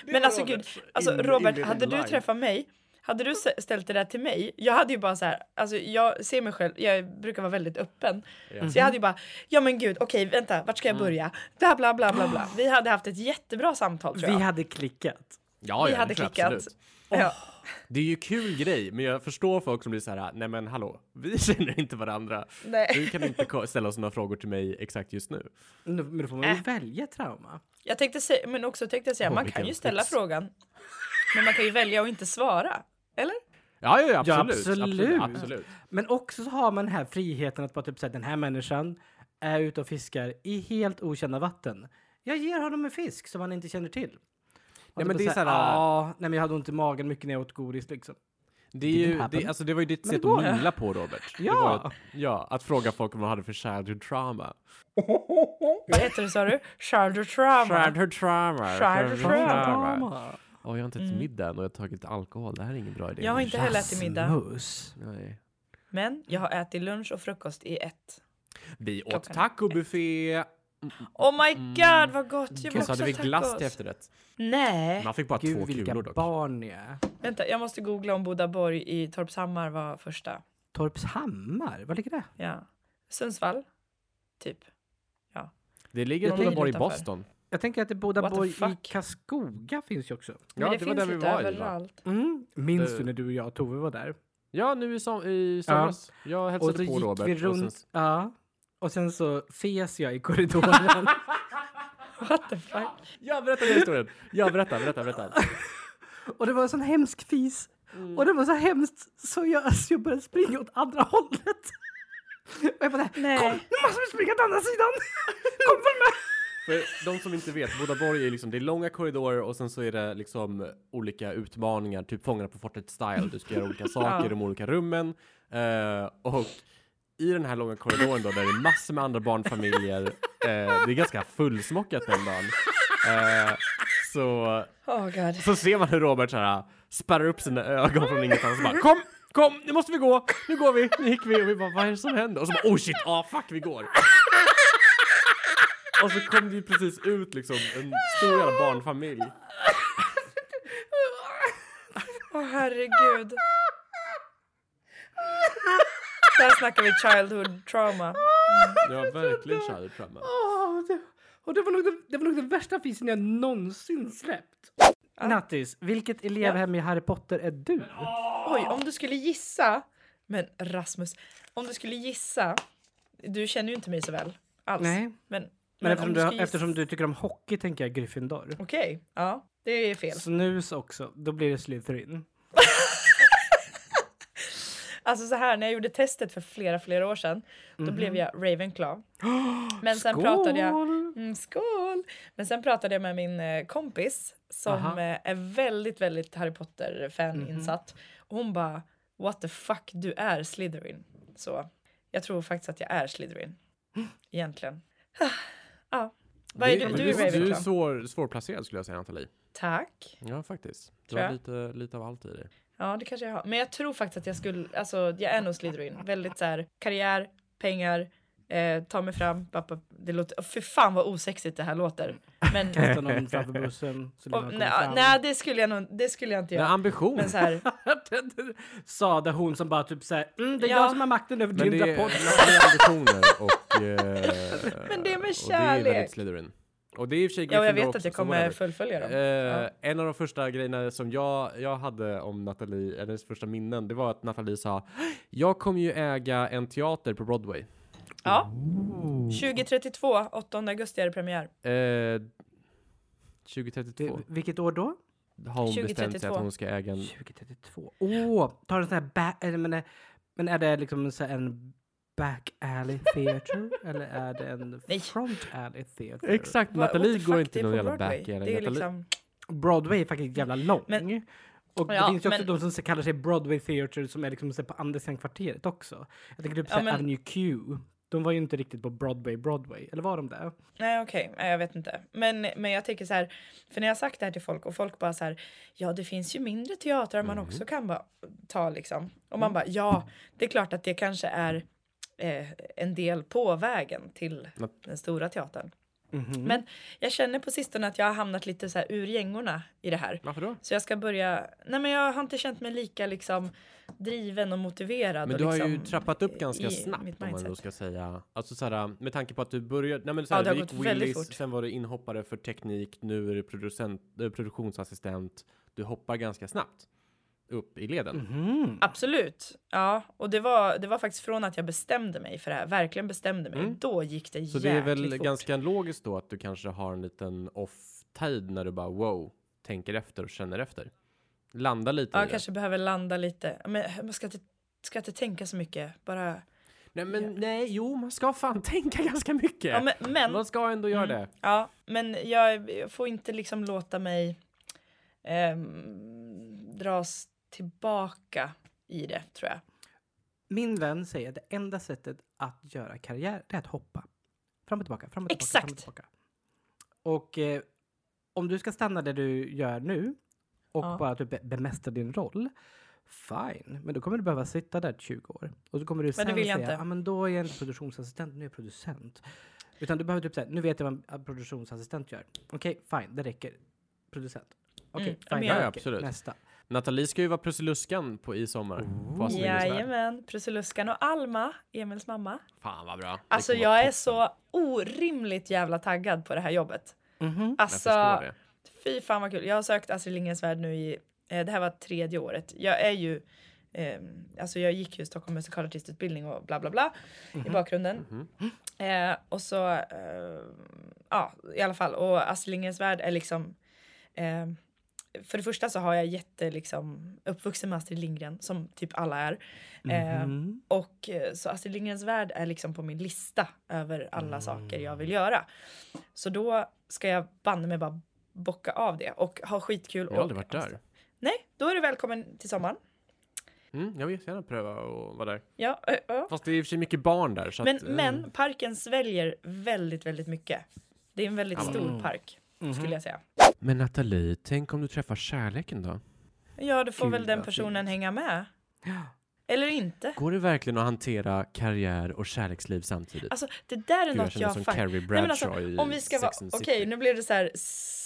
Speaker 2: men alltså gud,
Speaker 3: Roberts
Speaker 2: alltså
Speaker 3: in-
Speaker 2: Robert,
Speaker 3: inbillning
Speaker 2: hade du
Speaker 3: live.
Speaker 2: träffat mig hade du s- ställt det där till mig, jag hade ju bara så här, alltså jag ser mig själv, jag brukar vara väldigt öppen. Så
Speaker 3: Mm-hmm.
Speaker 2: jag hade ju bara, ja men gud, okej vänta, vart ska
Speaker 3: Mm.
Speaker 2: jag börja? Bla bla bla bla bla. Vi hade haft ett jättebra samtal tror
Speaker 1: Vi
Speaker 2: jag.
Speaker 1: hade klickat.
Speaker 3: Ja,
Speaker 2: Vi
Speaker 3: ja, det
Speaker 2: hade
Speaker 3: tror jag
Speaker 2: klickat.
Speaker 3: absolut.
Speaker 2: Ja.
Speaker 3: Det är ju kul grej, men jag förstår folk som blir så här, nej men hallå, vi känner inte varandra.
Speaker 2: Nej.
Speaker 3: Du kan inte ko- ställa sådana frågor till mig exakt just nu.
Speaker 1: Nu- Men då får man
Speaker 2: Äh.
Speaker 1: ju välja trauma.
Speaker 2: Jag tänkte säga, men också tänkte jag säga,
Speaker 3: Åh,
Speaker 2: man
Speaker 3: vilken
Speaker 2: kan ju ställa
Speaker 3: tips.
Speaker 2: frågan. Men man kan ju välja att inte svara. Eller?
Speaker 3: Ja, ja, ja, absolut.
Speaker 1: Ja,
Speaker 3: absolut.
Speaker 1: absolut.
Speaker 3: absolut.
Speaker 1: Men också så har man den här friheten att bara typ säga den här människan är ute och fiskar i helt okända vatten. Jag ger honom en fisk som han inte känner till.
Speaker 3: Nej, men det är så här-
Speaker 1: Ja, nej men jag hade ont i magen mycket när jag åt godis liksom.
Speaker 3: Det, är ju,
Speaker 1: Didn't happen.
Speaker 3: det, alltså, det var ju ditt
Speaker 1: det
Speaker 3: sätt att
Speaker 1: går.
Speaker 3: mila på Robert. Det
Speaker 1: Ja.
Speaker 3: var att, ja, att fråga folk om de hade för childhood trauma.
Speaker 2: Vad heter det sa du? Childhood trauma.
Speaker 3: Childhood trauma.
Speaker 2: Childhood trauma. Mm.
Speaker 3: Åh, jag har inte ätit middag än och jag har tagit ätit alkohol. Det här är ingen bra idé.
Speaker 2: Jag har inte heller ätit middag.
Speaker 1: Rasmus.
Speaker 3: Nej.
Speaker 2: Men jag har ätit lunch och frukost i ett.
Speaker 3: Vi åt
Speaker 2: Klockan
Speaker 3: tacobuffé
Speaker 2: Oh my
Speaker 3: Mm.
Speaker 2: god vad gott! Jag vill
Speaker 3: och så
Speaker 2: också
Speaker 3: hade vi
Speaker 2: ha
Speaker 3: glass
Speaker 2: tacos.
Speaker 3: till efterrätt.
Speaker 2: Nej!
Speaker 3: Man fick bara två
Speaker 1: Gud vilka
Speaker 3: kulor dock.
Speaker 1: barn ni är.
Speaker 2: Vänta jag måste googla om Bodaborg i Torpshammar var första.
Speaker 1: Torpshammar, var ligger det?
Speaker 2: Ja. Sundsvall? Typ.
Speaker 3: Det ligger
Speaker 2: Jag
Speaker 3: på
Speaker 2: ligger
Speaker 3: Borg i
Speaker 2: utanför.
Speaker 3: Boston.
Speaker 1: Jag tänker att det
Speaker 2: What the
Speaker 1: Bodaborg i
Speaker 2: fuck?
Speaker 1: Karlskoga finns ju också.
Speaker 2: Men det, finns lite
Speaker 3: i, va?
Speaker 2: överallt.
Speaker 1: Mm. Minns
Speaker 3: Eh.
Speaker 1: du när du och jag och Tove var där?
Speaker 3: Ja, nu i, som, i somras. Jag
Speaker 1: Och
Speaker 3: hälsade
Speaker 1: då
Speaker 3: på
Speaker 1: gick
Speaker 3: Robert.
Speaker 1: vi
Speaker 3: och sen
Speaker 1: runt,
Speaker 3: s-
Speaker 1: ja. Och sen så fes jag i korridoren.
Speaker 2: What the fuck?
Speaker 3: Ja, berätta den historien. Ja, berätta, berätta, berätta.
Speaker 1: Och det var en sån hemsk fis. Och det var så hemskt så jag, alltså jag började springa åt andra hållet. Och jag bara
Speaker 2: Nej.
Speaker 1: kom nu måste vi springa åt andra sidan. Kom väl med.
Speaker 3: För de som inte vet, Bodaborg är liksom, det är långa korridorer och sen så är det liksom olika utmaningar, typ Fångarna på fortet style. Du ska göra olika saker i de olika rummen. Eh, och i den här långa korridoren då, där det är massor med andra barnfamiljer. eh, det är ganska fullsmockat den dagen. Eh, så
Speaker 2: Oh god.
Speaker 3: Så ser man hur Robert så här äh, spärrar upp sina ögon från ingenstans och bara kom, kom, nu måste vi gå, nu går vi, nu gick vi och vi bara vad är det som händer? Och så bara oh shit, ah fuck vi går. Och så kom det ju precis ut liksom en stor jävla barnfamilj.
Speaker 2: Åh herregud. Där snackar vi childhood trauma.
Speaker 3: Det var verkligen kär framme.
Speaker 1: Åh, det, och det var, nog den, det var nog den värsta fisen jag någonsin släppt. Nattis, vilket elevhem i Harry Potter är du?
Speaker 2: Oj, om du skulle gissa Men Rasmus, om du skulle gissa. Du känner ju inte mig så väl alls.
Speaker 1: Nej.
Speaker 2: Men, men,
Speaker 1: Men eftersom,
Speaker 2: om du
Speaker 1: du,
Speaker 2: ska gissa-
Speaker 1: eftersom du tycker om hockey tänker jag Gryffindor.
Speaker 2: Okej, ja. Det är fel.
Speaker 1: Snus också, då blir det Slytherin.
Speaker 2: Alltså så här, när jag gjorde testet för flera, flera år sedan, då
Speaker 1: Mhm.
Speaker 2: blev jag Ravenclaw. Men sen pratade jag...
Speaker 1: Skål!
Speaker 2: Mm, skål! Men sen pratade jag med min eh, kompis som
Speaker 1: Aha.
Speaker 2: eh, är väldigt, väldigt Harry Potter-fan insatt. Och hon bara, what the fuck, du är Slytherin. Så jag tror faktiskt att jag är Slytherin. Egentligen. ja. Vad är
Speaker 3: Det-
Speaker 2: du?
Speaker 3: men
Speaker 2: Du är
Speaker 3: du, du är
Speaker 2: Ravenclaw.
Speaker 3: svår, svårplacerad skulle jag säga Nathalie.
Speaker 2: Tack.
Speaker 3: Ja, faktiskt. Du
Speaker 2: Tror
Speaker 3: har
Speaker 2: jag.
Speaker 3: lite, lite av allt i dig.
Speaker 2: Ja, det kanske jag har. Men jag tror faktiskt att jag skulle, alltså jag är nog Slytherin. Väldigt så här, karriär, pengar, eh, ta mig fram. Bap, bap. Det låter, oh, fy fan vad osexigt det här låter. Men,
Speaker 3: Eh.
Speaker 1: Kasta någon framför bussen så
Speaker 2: och,
Speaker 1: länge
Speaker 2: nej,
Speaker 1: han kommer
Speaker 2: nej, det skulle jag nog, det skulle jag inte
Speaker 3: Men
Speaker 2: göra.
Speaker 3: ambition.
Speaker 2: Men så här,
Speaker 1: fram. Sade hon som bara typ såhär, mm, det är
Speaker 2: Ja.
Speaker 1: jag som har makten över
Speaker 3: Men
Speaker 1: din
Speaker 3: det är,
Speaker 1: rapport.
Speaker 3: Nathalie har ambitioner och... eh,
Speaker 2: Men det är med
Speaker 3: Och det är
Speaker 2: kärlek.
Speaker 3: väldigt Slytherin. Och det är i och för sig
Speaker 2: ja, och jag
Speaker 3: Gryffindor
Speaker 2: vet
Speaker 3: också,
Speaker 2: att jag
Speaker 3: så
Speaker 2: kommer
Speaker 3: whatever.
Speaker 2: fullfölja dem.
Speaker 3: Eh, En av de första grejerna som jag, jag hade om Nathalie, eller hennes första minnen, det var att Nathalie sa Jag kommer ju äga en teater på Broadway.
Speaker 2: Ja.
Speaker 3: mm. Oh.
Speaker 2: 2032, 8 augusti är det premiär.
Speaker 3: Eh,
Speaker 1: Det,
Speaker 3: 2032
Speaker 1: vilket år då?
Speaker 3: har hon bestämt sig
Speaker 2: 2032.
Speaker 3: att hon ska äga en...
Speaker 1: 2032. Åh, tar en sån här back... Eller, men, är- men är det liksom en, sån här- en back alley theater? eller är det en
Speaker 2: Nej.
Speaker 1: front alley theater?
Speaker 3: Exakt,
Speaker 2: Vad- what
Speaker 3: Nathalie
Speaker 2: the
Speaker 3: går
Speaker 2: fuck,
Speaker 3: inte
Speaker 2: det
Speaker 3: till
Speaker 2: är
Speaker 3: någon
Speaker 2: på
Speaker 3: jävla
Speaker 2: Broadway.
Speaker 3: back eller
Speaker 2: Det är
Speaker 3: Nathalie-
Speaker 2: liksom,
Speaker 1: Broadway är faktiskt jävla lång.
Speaker 2: Men-
Speaker 1: och det
Speaker 2: Ja,
Speaker 1: finns ju också
Speaker 2: men-
Speaker 1: de som kallar sig Broadway Theatre som är liksom så här på Andersenkvarteret också. Jag tänker typ
Speaker 2: Ja,
Speaker 1: såhär
Speaker 2: men-
Speaker 1: Avenue Q. De var ju inte riktigt på Broadway, Broadway. Eller var de det?
Speaker 2: Nej okej, Nej, jag vet inte. Men, men jag tänker så här, för när jag har sagt det här till folk och folk bara så här, ja det finns ju mindre teatrar man
Speaker 3: Mm.
Speaker 2: också kan bara ta liksom. Och man bara, ja det är klart att det kanske är eh, en del på vägen till
Speaker 3: Nat-
Speaker 2: den stora teatern.
Speaker 3: Mhm.
Speaker 2: Men jag känner på sistone att jag har hamnat lite så här ur gängorna i det här.
Speaker 3: Varför då?
Speaker 2: Så jag ska börja, nej men jag har inte känt mig lika liksom driven och motiverad.
Speaker 3: Men
Speaker 2: och
Speaker 3: du har
Speaker 2: liksom,
Speaker 3: ju trappat upp ganska
Speaker 2: i mitt
Speaker 3: snabbt om man
Speaker 2: mindset.
Speaker 3: då ska säga. Alltså så här, med tanke på att du började, nej men så här,
Speaker 2: Ja, det har
Speaker 3: du
Speaker 2: gått
Speaker 3: gick
Speaker 2: väldigt
Speaker 3: Willys,
Speaker 2: fort.
Speaker 3: sen var du inhoppare för teknik, nu är du producent, eh, produktionsassistent. Du hoppar ganska snabbt upp i leden.
Speaker 1: Mhm.
Speaker 2: Absolut. Ja, och det var, det var faktiskt från att jag bestämde mig för det här, verkligen bestämde mig.
Speaker 3: Mm.
Speaker 2: Då gick det
Speaker 3: Så det är
Speaker 2: jäkligt
Speaker 3: väl
Speaker 2: fort.
Speaker 3: ganska logiskt då att du kanske har en liten off-tid när du bara wow, tänker efter och känner efter. Landa lite
Speaker 2: Ja,
Speaker 3: i
Speaker 2: jag
Speaker 3: det.
Speaker 2: kanske behöver landa lite. Men man ska inte, ska inte tänka så mycket. Bara...
Speaker 3: Nej men nej, jo man ska fan tänka ganska mycket.
Speaker 2: Ja, men, Mm. men,
Speaker 3: Man ska ändå göra det.
Speaker 2: ja, men jag jag får inte liksom låta mig ehm, dras tillbaka i det, tror jag.
Speaker 1: Min vän säger att det enda sättet att göra karriär det är att hoppa. Fram och tillbaka, fram och tillbaka, fram och
Speaker 2: Exakt.
Speaker 1: tillbaka. Och eh, om du ska stanna där du gör nu och
Speaker 2: Ja.
Speaker 1: bara typ be- bemästra din roll, fine. Men då kommer du behöva sitta där 20 år. Och så kommer du sen
Speaker 2: vill jag
Speaker 1: säga,
Speaker 2: inte.
Speaker 1: ah, men då är jag inte produktionsassistent, nu är jag producent. Utan du behöver typ säga, nu vet jag vad en produktionsassistent gör. Okej, fine, det räcker. Producent. Okej,
Speaker 2: Mm,
Speaker 1: fine,
Speaker 2: men
Speaker 1: det
Speaker 2: jag-
Speaker 1: räcker.
Speaker 3: Ja, absolut.
Speaker 1: Nästa.
Speaker 3: Nathalie ska ju vara Prussiluskan på i sommar. På Astrid Lindgrens Värld.
Speaker 2: Jajamän. Prussiluskan och Alma, Emils mamma.
Speaker 3: Fan vad bra. Det
Speaker 2: Alltså
Speaker 3: kommer vara
Speaker 2: jag är
Speaker 3: toppen.
Speaker 2: så orimligt jävla taggad på det här jobbet.
Speaker 1: Mhm.
Speaker 3: Jag
Speaker 2: Alltså,
Speaker 3: förstår det.
Speaker 2: Fy fan vad kul. Jag har sökt Astrid Lindgrens Värld nu i, eh, det här var tredje året. Jag är ju, eh, alltså jag gick ju Stockholm musikalartistutbildning och bla bla bla i
Speaker 3: Mhm.
Speaker 2: bakgrunden. Eh, och så, eh, ja i alla fall. Och Astrid Lindgrens Värld är liksom, eh, för det första så har jag jätte liksom uppvuxen med Astrid Lindgren som typ alla är. Eh,
Speaker 1: Mhm.
Speaker 2: och eh, så Astrid Lindgrens Värld är liksom på min lista över alla
Speaker 3: Mm.
Speaker 2: saker jag vill göra. Så då ska jag banne mig bara bocka av det och ha skitkul.
Speaker 3: Jag har aldrig
Speaker 2: och- alltså,
Speaker 3: varit där.
Speaker 2: Nej, då är du välkommen till sommaren.
Speaker 3: Mm, jag vill jättegärna pröva och vara där.
Speaker 2: Ja, ö, ö.
Speaker 3: Fast det är i och för sig mycket barn där. Så
Speaker 2: Men,
Speaker 3: att, eh,
Speaker 2: men parken sväljer väldigt, väldigt mycket. Det är en väldigt
Speaker 3: Ja, men-
Speaker 2: stor park
Speaker 3: Mhm.
Speaker 2: skulle jag säga.
Speaker 3: men Nathalie, tänk om du träffar kärleken då?
Speaker 2: Ja, då får
Speaker 1: Gud,
Speaker 2: väl den
Speaker 1: vad
Speaker 2: personen
Speaker 1: fint.
Speaker 2: hänga med. Eller inte.
Speaker 3: Går det verkligen att hantera karriär och kärleksliv samtidigt?
Speaker 2: Alltså, det där är
Speaker 3: Gud, jag
Speaker 2: något
Speaker 3: känner
Speaker 2: jag...
Speaker 3: som
Speaker 2: fan-
Speaker 3: Carrie
Speaker 2: Nej, men
Speaker 3: Bradshaw
Speaker 2: alltså,
Speaker 3: i
Speaker 2: om vi ska vara...
Speaker 3: Sex and
Speaker 2: Okej,
Speaker 3: City.
Speaker 2: nu blev det så här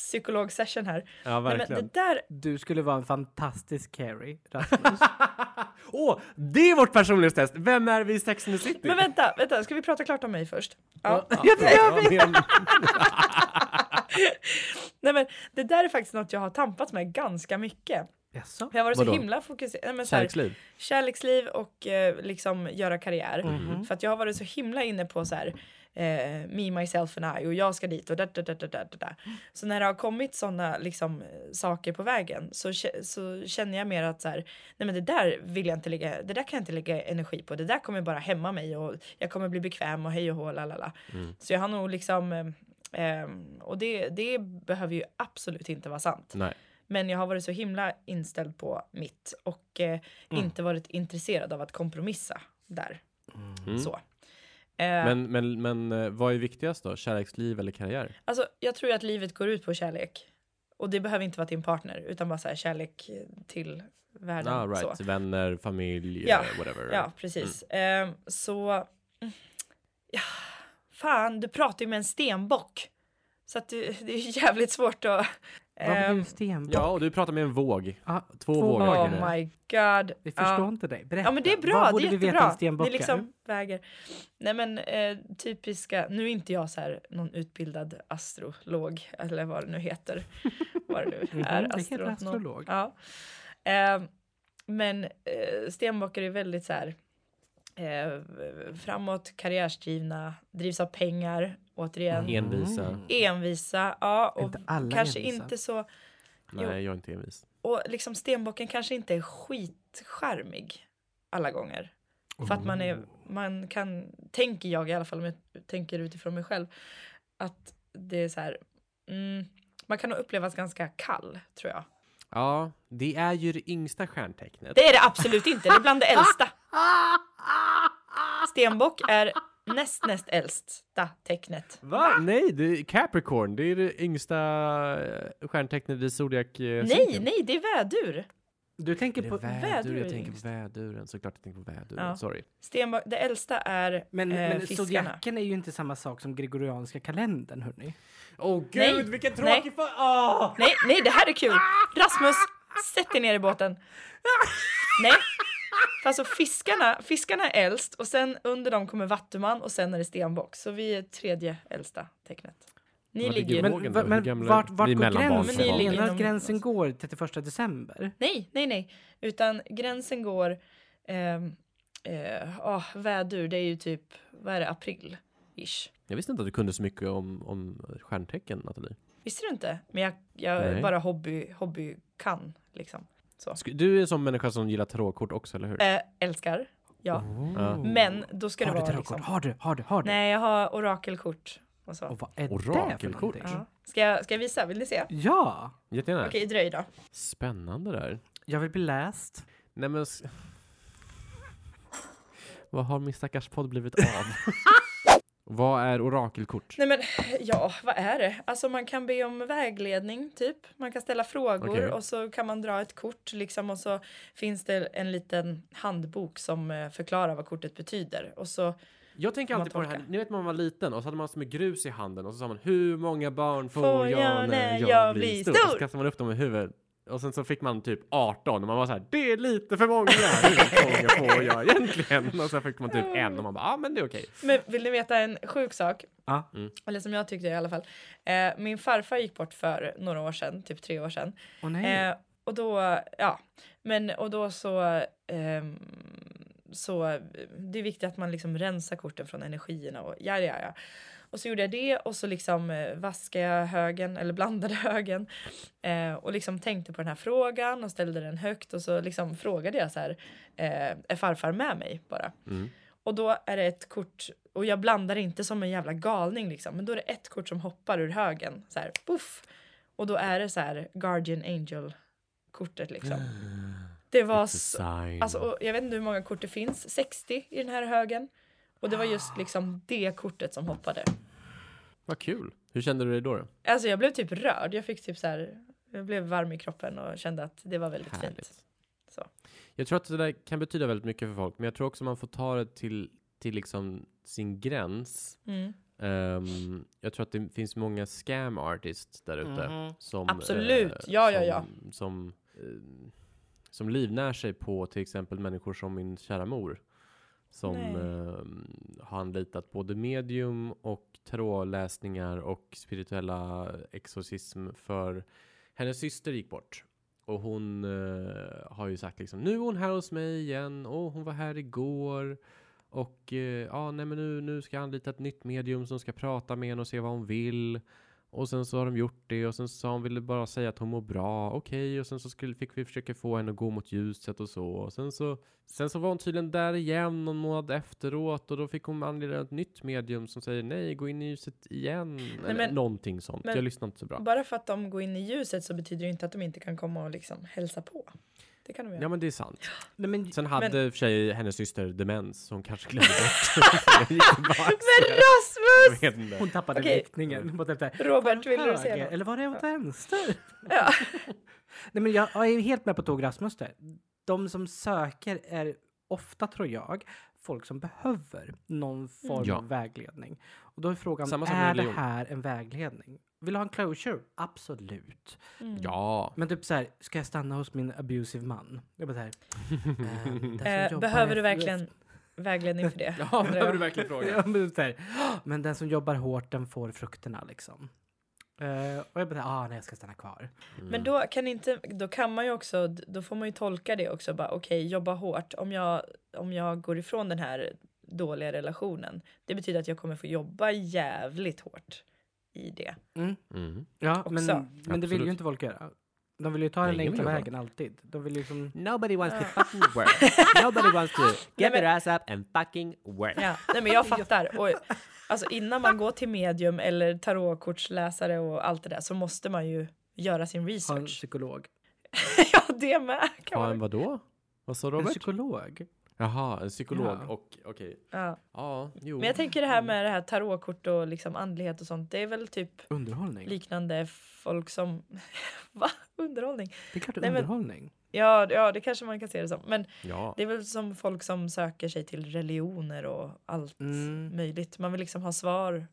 Speaker 2: psykolog-session här.
Speaker 3: Ja,
Speaker 2: Nej, men
Speaker 3: verkligen.
Speaker 2: det där
Speaker 1: Du skulle vara en fantastisk Carrie, Rasmus.
Speaker 3: Åh, det är vårt personlighetstest! Vem är vi i Sex and the City?
Speaker 2: Men vänta, vänta, ska vi prata klart om mig först? Ja.
Speaker 3: jag,
Speaker 2: Nej men det där är faktiskt något jag har tampats med ganska mycket.
Speaker 1: Jaså?
Speaker 2: Jag har varit så
Speaker 3: Vadå?
Speaker 2: himla fokuserad. Nej, men så här,
Speaker 3: Kärleksliv.
Speaker 2: kärleksliv och eh, liksom göra karriär.
Speaker 1: Mhm.
Speaker 2: För att jag har varit så himla inne på så här, eh, me, myself and I och jag ska dit och där, där, där, där, där, där. Så när det har kommit sådana liksom, eh, saker på vägen så, kä- så känner jag mer att så här, nej men det där vill jag inte lägga, det där kan jag inte lägga energi på, det där kommer bara hämma mig och jag kommer bli bekväm och hej och hå, la, la, la. Så jag har nog liksom, eh, eh, och det, det behöver ju absolut inte vara sant.
Speaker 3: Nej.
Speaker 2: Men jag har varit så himla inställd på mitt och eh,
Speaker 1: Mm.
Speaker 2: inte varit intresserad av att kompromissa där.
Speaker 1: Mm.
Speaker 2: Så. Eh,
Speaker 3: Men, men, men eh, vad är viktigast då? Kärleksliv eller karriär?
Speaker 2: Alltså, jag tror ju att livet går ut på kärlek. Och det behöver inte vara till en partner utan bara så här, kärlek till världen.
Speaker 3: Ah,
Speaker 2: så.
Speaker 3: right. Vänner, familj,
Speaker 2: Ja.
Speaker 3: eh, whatever.
Speaker 2: Ja, precis. Eh, så... mm, Ja, fan, du pratar ju med en stenbock. Så att du, det är jävligt svårt att...
Speaker 1: Vad blir
Speaker 2: Ehm,
Speaker 1: du stenbock?
Speaker 3: Ja, och du pratar med en våg.
Speaker 1: Ah,
Speaker 3: Två,
Speaker 1: två
Speaker 3: vågor.
Speaker 1: vågor.
Speaker 2: oh my god.
Speaker 1: Vi
Speaker 2: Ja.
Speaker 1: förstår inte dig. Berätta.
Speaker 2: Ja men det är bra,
Speaker 1: Vad borde
Speaker 2: det är
Speaker 1: vi veta om
Speaker 2: jättebra.
Speaker 1: stenbockar?
Speaker 2: det liksom väger. Nej men eh, typiska, nu är inte jag så här någon utbildad astrolog eller vad det nu heter. vad det nu
Speaker 1: Mhm,
Speaker 2: är.
Speaker 1: det heter
Speaker 2: astronom.
Speaker 1: astrolog.
Speaker 2: Ja. Eh, men eh, stenbockar är väldigt så här eh, framåt, karriärsdrivna, drivs av pengar återigen.
Speaker 3: Mm. Envisa.
Speaker 2: Envisa, ja och
Speaker 1: Mm. Inte alla
Speaker 2: kanske
Speaker 1: envisa.
Speaker 2: inte så Jo.
Speaker 3: Nej, jag är inte envis.
Speaker 2: och liksom stenbocken kanske inte är skitcharmig alla gånger. För att man är, man kan, tänker jag i alla fall om jag tänker utifrån mig själv, att det är så här, mm, man kan nog upplevas ganska kall tror jag.
Speaker 3: Ja, det är ju det yngsta stjärntecknet.
Speaker 2: Det är det absolut inte, det är bland det äldsta. Stenbock är näst näst äldsta tecknet.
Speaker 3: Va? Nej, det är Capricorn. Det är det yngsta eh, stjärntecknet i zodiac eh,
Speaker 2: Nej,
Speaker 3: cirkeln.
Speaker 2: nej, det är vädur.
Speaker 1: Du tänker
Speaker 3: Det är
Speaker 1: på...
Speaker 3: vädur,
Speaker 2: vädur
Speaker 3: jag
Speaker 2: är
Speaker 3: tänker på
Speaker 2: yngst.
Speaker 3: väduren. Såklart jag tänker på väduren,
Speaker 2: Ja.
Speaker 3: sorry.
Speaker 2: Stenbock, det äldsta är
Speaker 1: Men,
Speaker 2: eh,
Speaker 1: men
Speaker 2: fiskarna.
Speaker 1: zodiaken är ju inte samma sak som gregorianska kalendern, hörni.
Speaker 3: Åh gud,
Speaker 2: Nej.
Speaker 3: vilken
Speaker 2: Nej.
Speaker 3: tråkig fan! Ah!
Speaker 2: Nej, nej, det här är kul. Rasmus, sätt dig ner i båten. Nej. För alltså fiskarna, fiskarna är äldst och sen under dem kommer vattuman och sen är det stenbock. Så vi är tredje äldsta tecknet. Ni
Speaker 3: Var ligger
Speaker 2: ligger...
Speaker 3: vår- Vågen
Speaker 1: Men,
Speaker 3: då,
Speaker 1: va-
Speaker 3: hur
Speaker 1: men
Speaker 3: gamla-
Speaker 1: vart, vart
Speaker 3: vi är
Speaker 1: går
Speaker 3: mellanbarn
Speaker 1: gränsen?
Speaker 2: för barn.
Speaker 1: Menar du att
Speaker 2: Inom-
Speaker 1: gränsen går 31 december?
Speaker 2: Nej, nej, nej. Utan gränsen går... ehm, Eh, åh, vädur, det är ju typ, vad är det, april-ish.
Speaker 3: Jag visste inte att du kunde så mycket om, om stjärntecken, Nathalie.
Speaker 2: Visste du inte? Men jag, jag
Speaker 3: Nej.
Speaker 2: bara hobby, hobby kan liksom. Så.
Speaker 3: Sk- Du är en sån människa som gillar tarotkort också, eller hur?
Speaker 2: Eh, älskar, ja.
Speaker 3: Mm. Ja.
Speaker 2: Men då ska det
Speaker 1: Har du
Speaker 2: vara
Speaker 1: tarotkort?
Speaker 2: liksom...
Speaker 1: Har du? Har du? Har du?
Speaker 2: Nej, jag har orakelkort och så.
Speaker 1: Och vad är det för
Speaker 3: Orakelkort?
Speaker 1: någonting?
Speaker 2: Ja. Ska, jag, ska jag visa? Vill ni se?
Speaker 1: Ja!
Speaker 3: Jättegärna.
Speaker 2: Okej, dröj då.
Speaker 3: Spännande där.
Speaker 1: Jag vill bli läst.
Speaker 3: Nej men... s- Vad har min stackars podd blivit av? Vad är orakelkort?
Speaker 2: Nej men ja, vad är det? Alltså man kan be om vägledning typ. Man kan ställa frågor
Speaker 3: Okej.
Speaker 2: och så kan man dra ett kort liksom och så finns det en liten handbok som eh, förklarar vad kortet betyder. Och så,
Speaker 3: Jag tänker
Speaker 2: Man
Speaker 3: alltid på det här,
Speaker 2: tolkar.
Speaker 3: ni vet man var liten och så hade man som ett grus i handen och så sa man hur många barn får,
Speaker 2: Får
Speaker 3: jag, när jag, blir stor? Och så kastade man upp dem i huvudet och sen så fick man typ 18 och man var så här det är lite för många, hur många får jag egentligen? Och sen fick man typ en och man bara ja ah, men det är okej.
Speaker 2: men vill ni veta en sjuk sak?
Speaker 1: Ja.
Speaker 2: Eller som jag tyckte i alla fall. Eh, min farfar gick bort för några år sedan, typ tre år sedan.
Speaker 1: Åh nej.
Speaker 2: Eh, och då, ja. Men och då så, ehm, så eh, det är viktigt att man liksom rensar korten från energierna och ja, ja, ja. Och så gjorde jag det och så liksom eh, vaskade jag högen eller blandade högen eh, och liksom tänkte på den här frågan och ställde den högt och så liksom frågade jag så här, eh, är farfar med mig bara? Och då är det ett kort och jag blandar inte som en jävla galning liksom, men då är det ett kort som hoppar ur högen så här, poff. Och då är det så här Guardian Angel kortet liksom. Det var så,
Speaker 3: Sign.
Speaker 2: alltså, och jag vet inte hur många kort det finns, 60 i den här högen. Och det var just liksom det kortet som hoppade.
Speaker 3: Vad kul. Hur kände du dig då? då?
Speaker 2: Alltså jag blev typ rörd, jag fick typ så här, jag blev varm i kroppen och kände att det var väldigt fint. Så.
Speaker 3: Jag tror att det där kan betyda väldigt mycket för folk, men jag tror också man får ta det till, till liksom sin gräns.
Speaker 2: Mm.
Speaker 3: Ehm, jag tror att det finns många scam artists där ute. Som,
Speaker 2: Mhm.
Speaker 3: eh,
Speaker 2: Absolut. Ja, ja,
Speaker 3: som,
Speaker 2: ja.
Speaker 3: Som, eh, som livnär sig på till exempel människor som min kära mor. Som
Speaker 2: Nej.
Speaker 3: eh, har anlitat både medium och tarotläsningar och spirituella exorcism för hennes syster gick bort. Och hon eh, har ju sagt liksom, nu är hon här hos mig igen, och hon var här igår. Och eh, ja, nej men nu, nu ska jag anlita ett nytt medium som ska prata med henne och se vad hon vill. Och sen så har de gjort det och sen sa hon ville bara säga att hon mår bra, okej. Och sen så skulle, fick vi försöka få henne att gå mot ljuset och så. Och sen så, sen så var hon tydligen där igen någon månad efteråt och då fick hon anlita ett nytt medium som säger nej, gå in i ljuset igen. Eller
Speaker 2: men-
Speaker 3: någonting sånt.
Speaker 2: men-
Speaker 3: jag lyssnar inte så bra.
Speaker 2: Bara för att de går in i ljuset så betyder det inte att de inte kan komma och liksom hälsa på. Det kan de göra.
Speaker 3: Ja men det är sant.
Speaker 1: Nej, men,
Speaker 3: Sen hade
Speaker 2: Men-
Speaker 3: i och för sig hennes syster demens, så hon kanske glömde bort. Jag gick tillbaka.
Speaker 2: Men Rasmus!
Speaker 3: Jag vet inte.
Speaker 1: hon tappade
Speaker 2: Okej.
Speaker 1: riktningen. Mot efter.
Speaker 2: Robert, vill du säga
Speaker 1: höger,
Speaker 2: något?
Speaker 1: Eller var det åt vänster?
Speaker 2: Ja.
Speaker 1: Nej, men jag, jag är helt med på tåg Rasmus där. De som söker är ofta, tror jag, folk som behöver
Speaker 2: Mm.
Speaker 1: någon form
Speaker 3: Ja.
Speaker 1: av vägledning. Och då är frågan,
Speaker 3: Samma som
Speaker 1: är det
Speaker 3: religion.
Speaker 1: här en vägledning? Vill du ha en closure? Absolut.
Speaker 2: Mm.
Speaker 3: Ja.
Speaker 1: Men typ så här, ska jag stanna hos min abusive man? Jag bara så här, ehm, den som
Speaker 2: Eh,
Speaker 1: jobbar
Speaker 2: behöver du
Speaker 1: efter-
Speaker 2: verkligen vägledning för det?
Speaker 3: Ja,
Speaker 2: Undrar
Speaker 3: behöver du
Speaker 2: jag.
Speaker 3: verkligen fråga?
Speaker 1: Ja, men, typ så här, men den som jobbar hårt, den får frukterna liksom. Eh, och jag bara, ah, nej, jag ska stanna kvar.
Speaker 2: Men då kan, inte, då kan man ju också, då får man ju tolka det också. bara Okej, jobba hårt. Om jag, om jag går ifrån den här dåliga relationen. Det betyder att jag kommer få jobba jävligt hårt i det.
Speaker 1: Mm.
Speaker 3: Mm.
Speaker 1: Ja,
Speaker 2: Också.
Speaker 1: men, men det vill
Speaker 3: Absolut.
Speaker 1: ju inte folk göra. De vill ju ta
Speaker 3: Nej,
Speaker 1: den
Speaker 3: ingen
Speaker 1: enkla
Speaker 3: vill göra
Speaker 1: vägen alltid. De vill ju liksom...
Speaker 3: Nobody wants to fucking work. Nobody wants to
Speaker 2: Nej,
Speaker 3: get
Speaker 2: men-
Speaker 3: their ass up and fucking work.
Speaker 2: Ja, nej men jag fattar. Och, alltså innan man går till medium eller tarotkortsläsare och allt det där så måste man ju göra sin
Speaker 1: Ha en
Speaker 2: research.
Speaker 1: psykolog.
Speaker 2: Ja, det med. Kan
Speaker 3: Ha en
Speaker 2: man.
Speaker 3: vadå? Vad sa
Speaker 1: En
Speaker 3: Robert?
Speaker 1: psykolog?
Speaker 3: Jaha, en psykolog
Speaker 1: Ja.
Speaker 3: och okej.
Speaker 2: Ja.
Speaker 3: Ja,
Speaker 1: Oh.
Speaker 3: jo.
Speaker 2: Men jag tänker det här
Speaker 1: Mm.
Speaker 2: med det här tarotkort och liksom andlighet och sånt. Det är väl typ
Speaker 1: Underhållning?
Speaker 2: liknande folk som... Va? Underhållning?
Speaker 1: Det är klart
Speaker 2: Nej, men-
Speaker 1: underhållning.
Speaker 2: Ja, ja, det kanske man kan se det som. Men
Speaker 3: Ja.
Speaker 2: det är väl som folk som söker sig till religioner och allt
Speaker 1: Mm.
Speaker 2: möjligt. Man vill liksom ha svar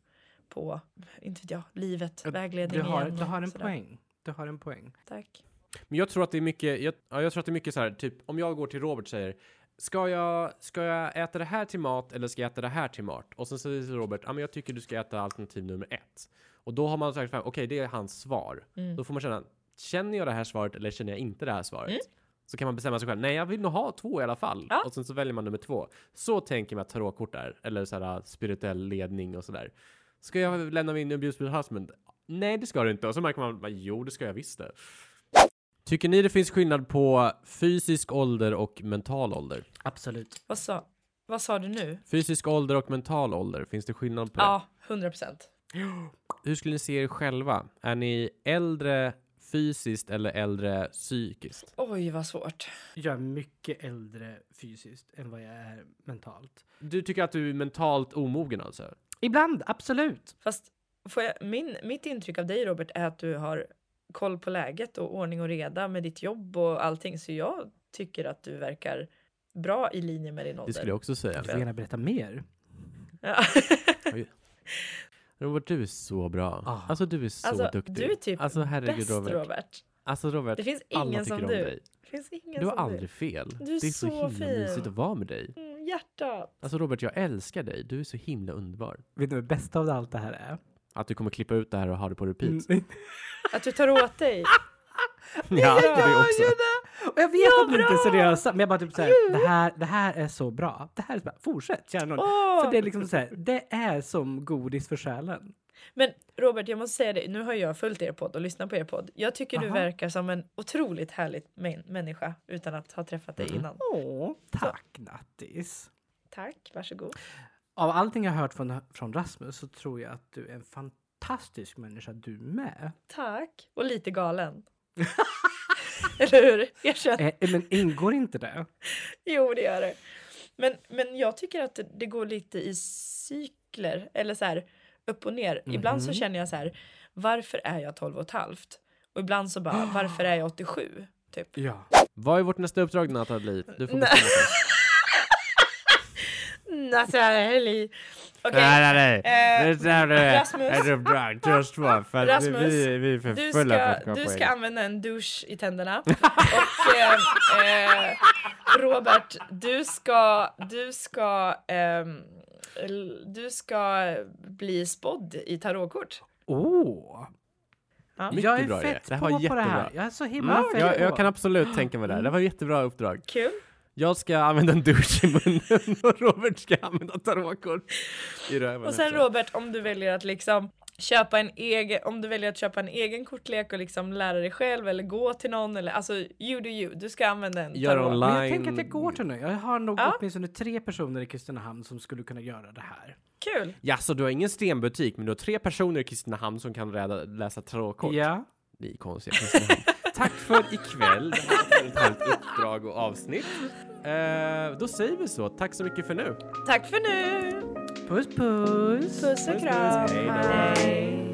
Speaker 2: på, inte vet jag, livet,
Speaker 1: Ja,
Speaker 2: vägledning
Speaker 1: Du har,
Speaker 2: igen
Speaker 1: du
Speaker 2: och
Speaker 1: har en
Speaker 2: sådär.
Speaker 1: poäng. Du har en poäng.
Speaker 2: Tack.
Speaker 3: Men jag tror att det är mycket, jag, ja, jag tror att det är mycket så här, typ om jag går till Robert och säger Ska jag, ska jag äta det här till mat eller ska jag äta det här till mat? Och sen säger Robert, ja men jag tycker du ska äta alternativ nummer ett. Och då har man sagt, okej det är hans svar. Då får man känna, känner jag det här svaret eller känner jag inte det här svaret? Så kan man bestämma sig själv, nej jag vill nog ha två i alla fall.
Speaker 2: Ja.
Speaker 3: Och sen så väljer man nummer två. Så tänker man att tarotkort är, eller så här spirituell ledning och sådär. Ska jag lämna min abused husband? Nej det ska du inte. Och så märker man, bara, jo det ska jag visst det. Tycker ni det finns skillnad på fysisk ålder och mental ålder?
Speaker 1: Absolut.
Speaker 2: Vad sa, vad sa du nu?
Speaker 3: Fysisk ålder och mental ålder, finns det skillnad på
Speaker 2: Ja, 100 procent.
Speaker 3: det? Hur skulle ni se er själva? Är ni äldre fysiskt eller äldre psykiskt?
Speaker 2: Oj, vad svårt.
Speaker 1: Jag är mycket äldre fysiskt än vad jag är mentalt.
Speaker 3: Du tycker att du är mentalt omogen alltså?
Speaker 1: Ibland, absolut.
Speaker 2: Fast får jag, min, mitt intryck av dig Robert är att du har koll på läget och ordning och reda med ditt jobb och allting. Så jag tycker att du verkar bra i linje med din ålder.
Speaker 3: Det skulle jag också säga.
Speaker 1: Du får gärna berätta mer.
Speaker 2: Ja.
Speaker 3: Robert, du är så bra.
Speaker 1: Ah.
Speaker 3: Alltså du är så
Speaker 2: Alltså,
Speaker 3: duktig.
Speaker 2: du är typ
Speaker 3: alltså, herregud,
Speaker 2: Bäst
Speaker 3: Robert.
Speaker 2: Robert.
Speaker 3: Alltså Robert,
Speaker 2: Det finns
Speaker 3: alla
Speaker 2: ingen
Speaker 3: tycker
Speaker 2: som
Speaker 3: om
Speaker 2: du.
Speaker 3: dig.
Speaker 2: Det finns ingen
Speaker 3: Du har
Speaker 2: som
Speaker 3: aldrig fel.
Speaker 2: Du är
Speaker 3: det är så,
Speaker 2: så
Speaker 3: himla
Speaker 2: fin.
Speaker 3: mysigt att vara med dig.
Speaker 2: du. Mm, hjärta.
Speaker 3: Alltså Robert, jag älskar dig. Du är så himla underbar.
Speaker 1: Vet du vad det bästa av allt det här är?
Speaker 3: Att du kommer klippa ut det här och ha det på repeat.
Speaker 1: Mm.
Speaker 2: Att du tar åt dig.
Speaker 3: Ja, det
Speaker 1: gör
Speaker 3: också.
Speaker 1: ju det! Och jag vet att ni inte är seriösa, men jag bara typ såhär, det här, det här är så bra. Det här är så bra. Fortsätt kära någon.
Speaker 2: Åh!
Speaker 1: För det är liksom såhär, det är som godis för själen.
Speaker 2: Men Robert, jag måste säga det. Nu har jag följt er podd och lyssnat på er podd. Jag tycker du
Speaker 1: Aha.
Speaker 2: verkar som en otroligt härlig män- människa utan att ha träffat
Speaker 3: Mm-hmm.
Speaker 2: dig innan.
Speaker 1: Åh, tack Nattis.
Speaker 2: Tack, varsågod.
Speaker 1: Av allting jag har hört från, från Rasmus så tror jag att du är en fantastisk människa du med.
Speaker 2: Tack. Och lite galen. Eller hur? Erkänn.
Speaker 1: Eh, men ingår inte det?
Speaker 2: Jo, det gör det. Men, men jag tycker att det, det går lite i cykler, eller så här upp och ner. Ibland så känner jag så här, varför är jag 12 och ett halvt? Och ibland så bara, varför är jag 87? Typ.
Speaker 1: Ja.
Speaker 3: Vad är vårt nästa uppdrag Nathalie? Du får
Speaker 2: Nej.
Speaker 3: bestämma först.
Speaker 2: Naturally. Mm, alltså, Okej,
Speaker 3: nej,
Speaker 2: Eh,
Speaker 3: Det där är
Speaker 2: Rasmus.
Speaker 3: ett uppdrag. Just vad? För att vi-
Speaker 2: Rasmus,
Speaker 3: vi, vi är för
Speaker 2: du
Speaker 3: fulla för att
Speaker 2: ska,
Speaker 3: komma
Speaker 2: du
Speaker 3: på
Speaker 2: ska
Speaker 3: ska...
Speaker 2: använda en douche i tänderna. Och eh, eh, Robert, du ska, du ska, ehm, l- du ska bli spådd i tarotkort.
Speaker 1: Åh!
Speaker 2: Ja.
Speaker 3: Mycket
Speaker 1: jag är
Speaker 3: bra idé.
Speaker 1: fett
Speaker 3: Det här
Speaker 1: på,
Speaker 3: var
Speaker 1: på det här.
Speaker 3: jättebra.
Speaker 1: Jag är så himla
Speaker 3: Mm,
Speaker 1: fett
Speaker 3: jag,
Speaker 1: på.
Speaker 3: jag kan absolut tänka mig det här. Det var ett jättebra uppdrag.
Speaker 2: Kul.
Speaker 3: Jag ska använda en douche i munnen och Robert ska använda tarotkort i röven.
Speaker 2: Och sen
Speaker 3: efteråt.
Speaker 2: Robert, om du väljer att liksom köpa en egen, om du väljer att köpa en egen kortlek och liksom lära dig själv eller gå till någon eller alltså you do you. Du ska använda en
Speaker 3: Gör
Speaker 2: tarot.
Speaker 3: online.
Speaker 1: Men jag tänker att jag går till nu. Jag har nog
Speaker 2: Ja.
Speaker 1: åtminstone tre personer i Kristinehamn som skulle kunna göra det här.
Speaker 2: Kul.
Speaker 3: Ja, så du har ingen stenbutik, men du har tre personer i Kristinehamn som kan räda, läsa tarotkort.
Speaker 1: Ja.
Speaker 3: Ni är konstiga Kristinehamn. Tack för ikväll. Det här var ett helt uppdrag och avsnitt. Eh, då säger vi så. Tack så mycket för nu.
Speaker 2: Tack för nu.
Speaker 1: Puss puss.
Speaker 2: Puss och
Speaker 3: Puss, puss.
Speaker 2: kram.
Speaker 3: Hej då.
Speaker 2: Hej.